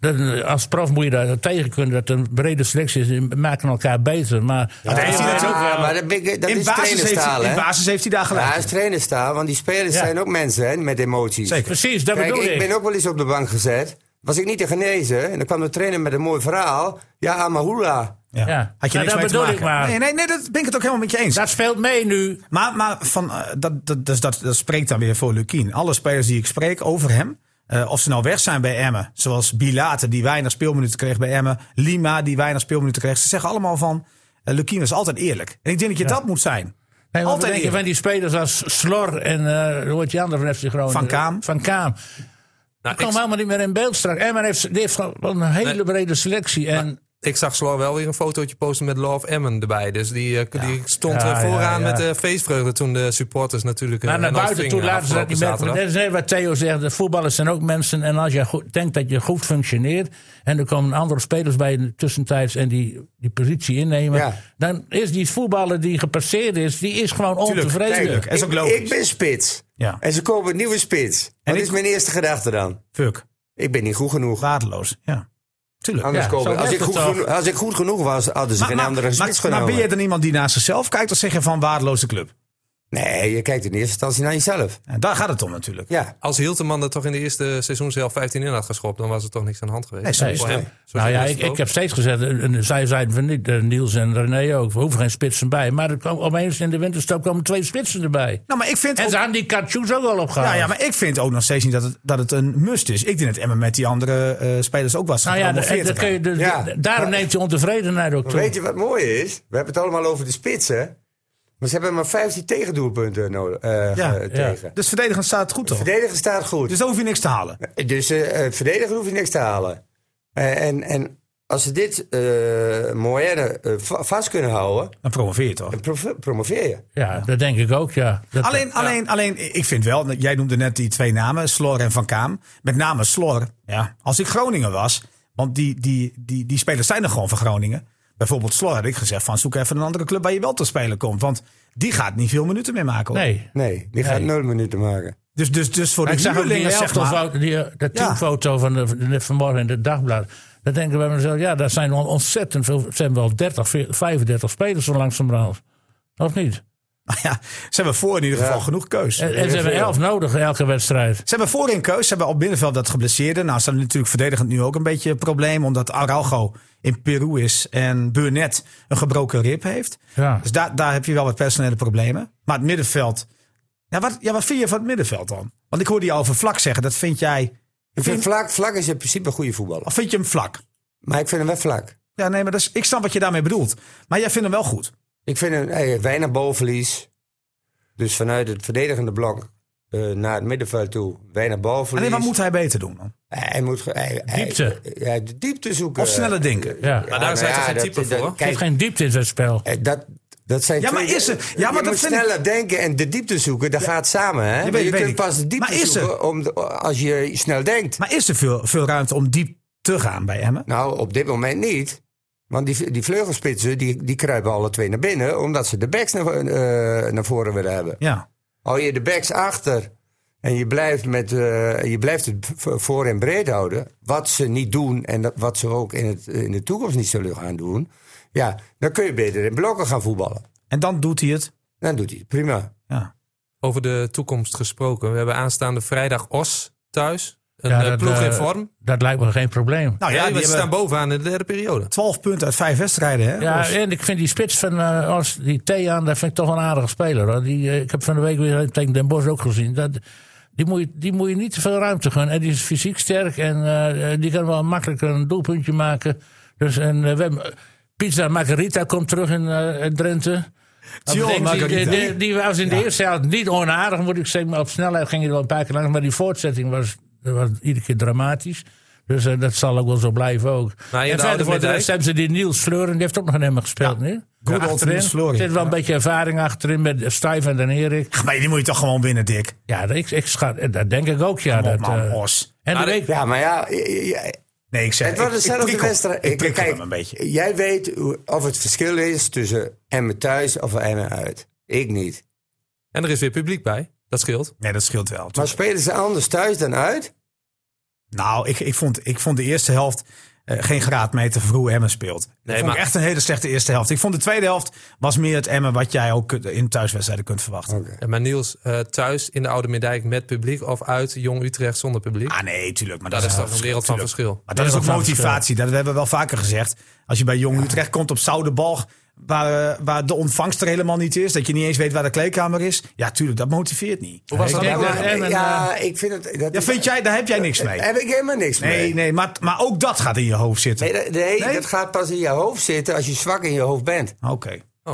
Speaker 1: dat, als prof moet je daar tegen kunnen dat een brede selectie is. die maken elkaar beter. Maar
Speaker 5: dat heeft hij
Speaker 1: Ja,
Speaker 5: natuurlijk
Speaker 6: Ah, maar dat, ben ik- dat
Speaker 5: in,
Speaker 6: is
Speaker 5: basis heeft,
Speaker 6: trainerstaal,
Speaker 5: hij- in
Speaker 6: hè?
Speaker 5: basis heeft hij daar
Speaker 6: Ja,
Speaker 5: gelijk.
Speaker 6: hij is trainerstaal, want die spelers
Speaker 1: Ja.
Speaker 6: zijn ook mensen hè, met emoties.
Speaker 5: Zeker.
Speaker 1: precies, dat
Speaker 6: Kijk,
Speaker 1: bedoel
Speaker 6: ik
Speaker 1: ik.
Speaker 6: ben ook wel eens op de bank gezet. Was ik niet te genezen en dan kwam de trainer met een mooi verhaal. Ja, Amahula.
Speaker 5: Ja.
Speaker 1: Ja.
Speaker 5: Had je
Speaker 1: Nou,
Speaker 5: niks
Speaker 1: dat
Speaker 5: mee te
Speaker 1: bedoel
Speaker 5: maken.
Speaker 1: ik maar.
Speaker 5: Nee, nee, nee, dat ben ik het ook helemaal met je eens.
Speaker 1: Dat speelt mee nu.
Speaker 5: Maar, maar van, eh, dat, dat, dus dat, dat spreekt dan weer voor Lukien. Alle spelers die ik spreek over hem. eh, of ze nou weg zijn bij Emmen. Zoals Bilate, die weinig speelminuten kreeg bij Emmen. Lima, die weinig speelminuten kreeg. Ze zeggen allemaal van, eh Lukien is altijd eerlijk. En ik denk dat je dat moet zijn.
Speaker 1: Nee, want
Speaker 5: Altijd
Speaker 1: Altijd je
Speaker 5: eerlijk.
Speaker 1: van die spelers als Slor en eh hoe heet die andere van FC Groningen?
Speaker 5: Van Kaam.
Speaker 1: eh, Van Kaam.
Speaker 4: Nou,
Speaker 1: Kom
Speaker 4: ik,
Speaker 1: helemaal niet meer in beeld straks. Emmen heeft, die heeft gewoon een hele
Speaker 4: Nee.
Speaker 1: brede selectie. En
Speaker 4: ik zag Slor wel weer een fotootje posten met Love Emmen erbij. Dus die, eh, die stond
Speaker 1: Ja,
Speaker 4: eh, vooraan
Speaker 1: ja, ja.
Speaker 4: met eh, feestvreugde toen de supporters natuurlijk... eh,
Speaker 1: maar naar
Speaker 4: en ons
Speaker 1: buiten toe
Speaker 4: vingen
Speaker 1: laten ze dat
Speaker 4: afgelopen
Speaker 1: niet merken.
Speaker 4: zaterdag.
Speaker 1: Dat is net wat Theo zegt. De voetballers zijn ook mensen. En als je goed, denkt dat je goed functioneert. en er komen andere spelers bij in de tussentijds. en die, die positie innemen.
Speaker 6: Ja.
Speaker 1: dan is die voetballer die gepasseerd is. die is gewoon
Speaker 5: Tuurlijk,
Speaker 1: ontevreden.
Speaker 5: tuurlijk. Dat is ook
Speaker 6: Ik,
Speaker 5: logisch.
Speaker 6: ik ben spits.
Speaker 5: Ja.
Speaker 6: En ze kopen een nieuwe spits. Wat
Speaker 5: ik-
Speaker 6: is mijn eerste gedachte dan?
Speaker 5: Fuck.
Speaker 6: Ik ben niet goed genoeg.
Speaker 5: Waardeloos. Ja. Tuurlijk.
Speaker 6: Anders
Speaker 1: Ja,
Speaker 6: kopen.
Speaker 1: zo
Speaker 6: Als ik,
Speaker 1: werkt
Speaker 6: goed
Speaker 1: het toch?
Speaker 6: genoeg, als ik goed genoeg was, hadden ze
Speaker 5: Maar,
Speaker 6: geen
Speaker 5: maar,
Speaker 6: andere
Speaker 5: maar-
Speaker 6: spits
Speaker 5: maar
Speaker 6: genomen.
Speaker 5: ben je dan iemand die naar zichzelf kijkt? Of zeg je van waardeloze club?
Speaker 6: Nee, je kijkt in eerste instantie naar jezelf.
Speaker 5: En daar gaat het om natuurlijk.
Speaker 6: Ja.
Speaker 4: Als Hilteman er toch in de eerste seizoenshelft 15 in had geschopt... dan was er toch niks aan de hand geweest.
Speaker 5: Nee, zo is
Speaker 4: Voor
Speaker 5: het.
Speaker 4: hem. Zo
Speaker 1: Nou ja,
Speaker 4: is het
Speaker 1: ik,
Speaker 4: ook.
Speaker 1: ik heb steeds gezegd, en- en zij zeiden van niet, eh, Niels en René ook, we hoeven geen spitsen bij. Maar er kwam, opeens in de winterstop kwamen twee spitsen erbij.
Speaker 5: Nou, maar ik vind
Speaker 1: En
Speaker 5: ook-
Speaker 1: ze hadden die Katjoes ook al opgehaald.
Speaker 5: Ja, ja, maar ik vind ook nog steeds niet dat het, dat het een must is. Ik denk dat Emma met die andere eh, spelers ook was.
Speaker 1: nou ja,
Speaker 5: gepromoveerd
Speaker 1: dat- dat
Speaker 5: te
Speaker 1: kun je, dus-
Speaker 6: Ja.
Speaker 1: d- daarom neemt je ontevredenheid ook toe.
Speaker 6: Weet je wat mooi is? We hebben het allemaal over de spitsen. Maar ze hebben maar 15 tegendoelpunten nodig, eh,
Speaker 5: Ja,
Speaker 6: eh,
Speaker 5: ja.
Speaker 6: tegen.
Speaker 5: Dus verdedigend staat het goed toch?
Speaker 6: Verdedigen staat goed.
Speaker 5: Dus daar hoef je niks te halen.
Speaker 6: Dus eh eh, verdedigen hoef je niks te halen. Eh, en, en als ze dit eh Moyenne eh, va- vast kunnen houden,
Speaker 5: Dan promoveer je toch?
Speaker 6: dan pro- promoveer je.
Speaker 1: Ja, dat denk ik ook, ja. Dat-
Speaker 5: Alleen, alleen, alleen, ik vind wel, jij noemde net die twee namen, Slor en Van Kaam. Met name Slor. Ja. Als ik Groningen was, want die, die, die, die spelers zijn er gewoon van Groningen. Bijvoorbeeld Slor had ik gezegd van zoek even een andere club waar je wel te spelen komt. Want die gaat niet veel minuten meer maken. hoor.
Speaker 1: Nee.
Speaker 6: Nee, die gaat nul minuten maken.
Speaker 5: Dus, dus, dus voor
Speaker 1: Maar ik
Speaker 5: de
Speaker 1: zag ook die
Speaker 5: nieuwelingen zeg maar.
Speaker 1: elftalfoto, die, eh, de teamfoto van de, van de- vanmorgen in het dagblad. Dan denken we bij mezelf, ja, daar zijn on- ontzettend veel, het zijn wel 30, 40, 35 spelers zo langzamerhand. Of niet?
Speaker 5: Ja, ze hebben voor in ieder geval
Speaker 6: Ja.
Speaker 5: genoeg keus.
Speaker 1: En, en ze hebben
Speaker 6: veel.
Speaker 1: elf nodig elke wedstrijd.
Speaker 5: Ze hebben voorin keus. Ze hebben op binnenveld dat geblesseerde. Nou, ze hebben natuurlijk verdedigend nu ook een beetje een probleem. Omdat Araujo in Peru is en Burnett een gebroken rib heeft.
Speaker 1: Ja.
Speaker 5: Dus daar, daar heb je wel wat personele problemen. Maar het middenveld. Ja wat, ja, wat vind je van het middenveld dan? Want ik hoorde je al over vlak zeggen. Dat vind jij.
Speaker 6: Ik
Speaker 5: Hm.
Speaker 6: vind vlak, vlak is in principe een goede voetballer.
Speaker 5: Of vind je hem vlak?
Speaker 6: Maar ik vind hem wel vlak.
Speaker 5: Ja, nee, maar dat is, ik snap wat je daarmee bedoelt. Maar jij vindt hem wel goed.
Speaker 6: eh, Ik vind hem hij heeft weinig balverlies. Dus vanuit het verdedigende blok eh, naar het middenveld toe. Weinig balverlies.
Speaker 5: Alleen wat moet hij beter doen dan?
Speaker 6: Hij moet ge- hij- hij-
Speaker 1: Diepte.
Speaker 6: ja, de diepte zoeken.
Speaker 5: Of
Speaker 1: Eh,
Speaker 5: sneller denken.
Speaker 1: Ja.
Speaker 6: Ja,
Speaker 4: daar is hij toch geen
Speaker 6: dat-
Speaker 4: type
Speaker 6: dat-
Speaker 4: voor, hoor?
Speaker 1: Er zit
Speaker 6: Kijk,
Speaker 1: geen diepte in zijn spel.
Speaker 6: eh, dat, dat zijn
Speaker 5: Ja, maar
Speaker 6: twee-
Speaker 5: is er- ja, maar dat
Speaker 6: je moet
Speaker 5: vind ik-
Speaker 6: sneller denken en de diepte zoeken, dat gaat samen. Hè?
Speaker 5: weet-
Speaker 6: Maar je
Speaker 5: weet
Speaker 6: kunt
Speaker 5: ik.
Speaker 6: pas de diepte
Speaker 5: Maar is er-
Speaker 6: zoeken om de- als je snel denkt.
Speaker 5: Maar is er veel, veel ruimte om diep te gaan bij Emmen?
Speaker 6: Nou, op dit moment niet. Want die, die vleugelspitsen die, die kruipen alle twee naar binnen, omdat ze de backs naar, eh, naar voren willen hebben.
Speaker 5: Ja.
Speaker 6: Hou je de backs achter en je blijft, met, eh, je blijft het v- voor en breed houden, wat ze niet doen en dat, wat ze ook in, het, in de toekomst niet zullen gaan doen, ja, dan kun je beter in blokken gaan voetballen.
Speaker 5: En dan doet hij het.
Speaker 6: Dan doet hij het prima.
Speaker 5: Ja.
Speaker 4: Over de toekomst gesproken. We hebben aanstaande vrijdag Os thuis. Een
Speaker 1: Ja,
Speaker 4: eh,
Speaker 1: dat,
Speaker 4: ploeg in
Speaker 1: eh,
Speaker 4: vorm.
Speaker 1: Dat lijkt me geen probleem.
Speaker 5: Nou
Speaker 4: ja,
Speaker 5: ja,
Speaker 4: die,
Speaker 5: die
Speaker 4: staan
Speaker 5: hebben
Speaker 4: bovenaan in de derde periode.
Speaker 5: 12 punten uit 5 wedstrijden. Hè?
Speaker 1: Ja,
Speaker 5: Of-
Speaker 1: en ik vind die spits van eh, Os, die Thean, dat vind ik toch wel een aardige speler. Hoor. Die, eh, ik heb van de week weer tegen Den Bosch ook gezien. Dat, die, moet je, die moet je niet te veel ruimte gunnen. En die is fysiek sterk en eh, die kan wel makkelijk een doelpuntje maken. Dus, en, eh, we hebben, Pizza Margarita komt terug in eh, Drenthe.
Speaker 5: Tjoh,
Speaker 1: Die- Die, eh,
Speaker 5: Margarita.
Speaker 1: die, die was in de eerste helft niet onaardig, moet ik zeggen. Maar op snelheid ging hij wel een paar keer langs. Maar die voortzetting was, was iedere keer dramatisch. Dus eh, dat zal ook wel zo blijven ook.
Speaker 4: Nou, je
Speaker 1: en
Speaker 4: hebt
Speaker 1: verder
Speaker 4: Oude
Speaker 1: voor de
Speaker 4: Middijk.
Speaker 1: rest hebben ze die Niels Fleuren. Die heeft ook nog een emmer gespeeld nu.
Speaker 5: good old
Speaker 1: Achterin.
Speaker 5: Niels Fleuren,
Speaker 1: Er zit wel een beetje ervaring achterin met Stuyven en Erik.
Speaker 5: Maar die moet je toch gewoon winnen, Dick.
Speaker 1: Ja, ik, ik schat, eh, dat denk ik ook, ja.
Speaker 5: Kom op,
Speaker 1: Dat,
Speaker 5: man,
Speaker 1: eh,
Speaker 5: Os.
Speaker 1: en de
Speaker 4: Maar
Speaker 1: week,
Speaker 6: Ja, maar ja, je- je-
Speaker 5: Nee, ik zeg...
Speaker 6: het wordt
Speaker 5: ik- ik
Speaker 6: dezelfde
Speaker 5: prikkel-
Speaker 6: wedstrijd.
Speaker 5: Ik prikkel
Speaker 6: kijk,
Speaker 5: hem een beetje.
Speaker 6: Jij weet hoe- of het verschil is tussen Emmen thuis of Emmen uit. Ik niet.
Speaker 4: En er is weer publiek bij. Dat scheelt.
Speaker 5: Nee, dat scheelt wel.
Speaker 6: Maar spelen ze anders thuis dan uit?
Speaker 5: Nou, ik, ik, vond, ik vond de eerste helft eh, geen graadmeter voor hoe Emmen speelt.
Speaker 4: Nee,
Speaker 5: ik vond
Speaker 4: maar-
Speaker 5: echt een hele slechte eerste helft. Ik vond de tweede helft was meer het Emmen wat jij ook kunt- in thuiswedstrijden kunt verwachten.
Speaker 4: En maar Niels, eh, thuis in de Oude Middijk met publiek of uit Jong Utrecht zonder publiek?
Speaker 5: Ah nee, tuurlijk. Maar
Speaker 4: dat is
Speaker 5: wel
Speaker 4: toch een wereld van
Speaker 5: tuurlijk.
Speaker 4: verschil.
Speaker 5: Maar dat is ook
Speaker 1: Wereld van
Speaker 5: motivatie. Dat hebben we wel vaker gezegd. Als je bij Jong Utrecht komt op Zoudenbalg, waar, eh, waar de ontvangst er helemaal niet is. Dat je niet eens weet waar de kleedkamer is. Ja, tuurlijk, dat motiveert niet.
Speaker 4: Hoe was
Speaker 1: Ik
Speaker 4: dat
Speaker 1: denk
Speaker 4: nou?
Speaker 1: dat
Speaker 6: Ja,
Speaker 1: Emmen,
Speaker 6: ja, ik vind het... Dat
Speaker 5: eh, Ja, vind jij, daar heb jij niks mee.
Speaker 6: Heb ik helemaal niks
Speaker 5: Nee,
Speaker 6: mee.
Speaker 5: nee, maar, maar ook dat gaat in je hoofd zitten.
Speaker 6: Nee,
Speaker 5: Oké.
Speaker 6: dat, nee,
Speaker 5: Nee?
Speaker 6: dat gaat pas in je hoofd zitten als je zwak in je hoofd bent.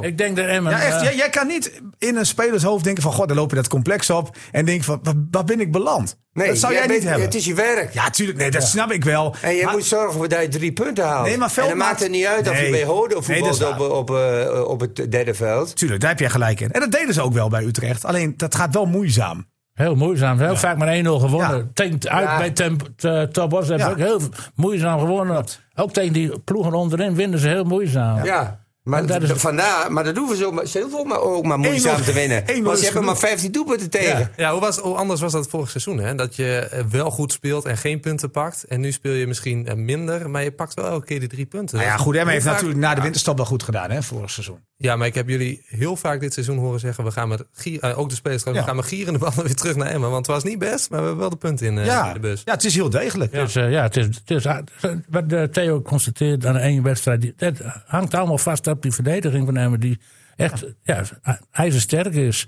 Speaker 1: ik denk dat Emmen...
Speaker 5: Ja, echt.
Speaker 1: eh,
Speaker 5: Jij, jij kan niet in een spelershoofd denken van... god, dan loop je dat complex op en denk van... wa- waar ben ik beland?
Speaker 6: Nee,
Speaker 5: dat zou jij,
Speaker 6: bent-
Speaker 5: niet hebben.
Speaker 6: Het is je werk.
Speaker 5: Ja, tuurlijk. Nee, dat snap ik wel.
Speaker 6: En je
Speaker 5: Maar-
Speaker 6: moet zorgen dat je drie punten haalt.
Speaker 5: Nee, maar
Speaker 6: en
Speaker 5: Veldmaat-
Speaker 6: dan maakt het niet uit of
Speaker 5: Nee.
Speaker 6: je bij Hoden
Speaker 5: Nee, dat
Speaker 6: voetbalt
Speaker 5: is waar.
Speaker 6: op, op, eh, op het derde veld.
Speaker 5: Tuurlijk, daar heb jij gelijk in. En dat deden ze ook wel bij Utrecht. Alleen, dat gaat wel moeizaam.
Speaker 1: Heel moeizaam. Heel vaak maar 1-0 gewonnen.
Speaker 5: Ja.
Speaker 1: Tegen, uit
Speaker 6: Ja.
Speaker 1: bij Tem- Te- Tobos hebben
Speaker 5: Ja.
Speaker 1: ze ook heel moeizaam gewonnen. Ook tegen die ploegen onderin winnen ze heel moeizaam.
Speaker 6: Ja. Maar,
Speaker 1: En dat is-
Speaker 6: d- vandaar, maar dat hoeven ze ook maar, ze hoeven ook maar, ook maar moeizaam
Speaker 5: 1-0
Speaker 6: te winnen.
Speaker 5: is
Speaker 6: Want ze hebben
Speaker 5: genoeg.
Speaker 6: maar 15 doelpunten tegen.
Speaker 4: Ja, hoe, was, hoe anders was dat vorig seizoen? Hè? Dat je eh, wel goed speelt en geen punten pakt. En nu speel je misschien eh, minder, maar je pakt wel elke keer die drie punten.
Speaker 5: Nou ja, goed, Emma
Speaker 4: Hoe
Speaker 5: heeft
Speaker 4: vaak-
Speaker 5: natuurlijk na de winterstop wel goed gedaan, hè, vorig seizoen.
Speaker 4: Ja, maar ik heb jullie heel vaak dit seizoen horen zeggen... we gaan met, gier, eh, ook de spelers, trouwens,
Speaker 5: Ja.
Speaker 4: we gaan met gierende ballen weer terug naar Emmen. Want het was niet best, maar we hebben wel de punten in, eh,
Speaker 5: ja.
Speaker 4: in de bus.
Speaker 5: ja, het is heel degelijk.
Speaker 1: Dus eh, ja, het is, het is, wat eh, Theo constateert aan één wedstrijd. die- Dat hangt allemaal vast op die verdediging van Emmen. Die echt ja. ijzersterk is.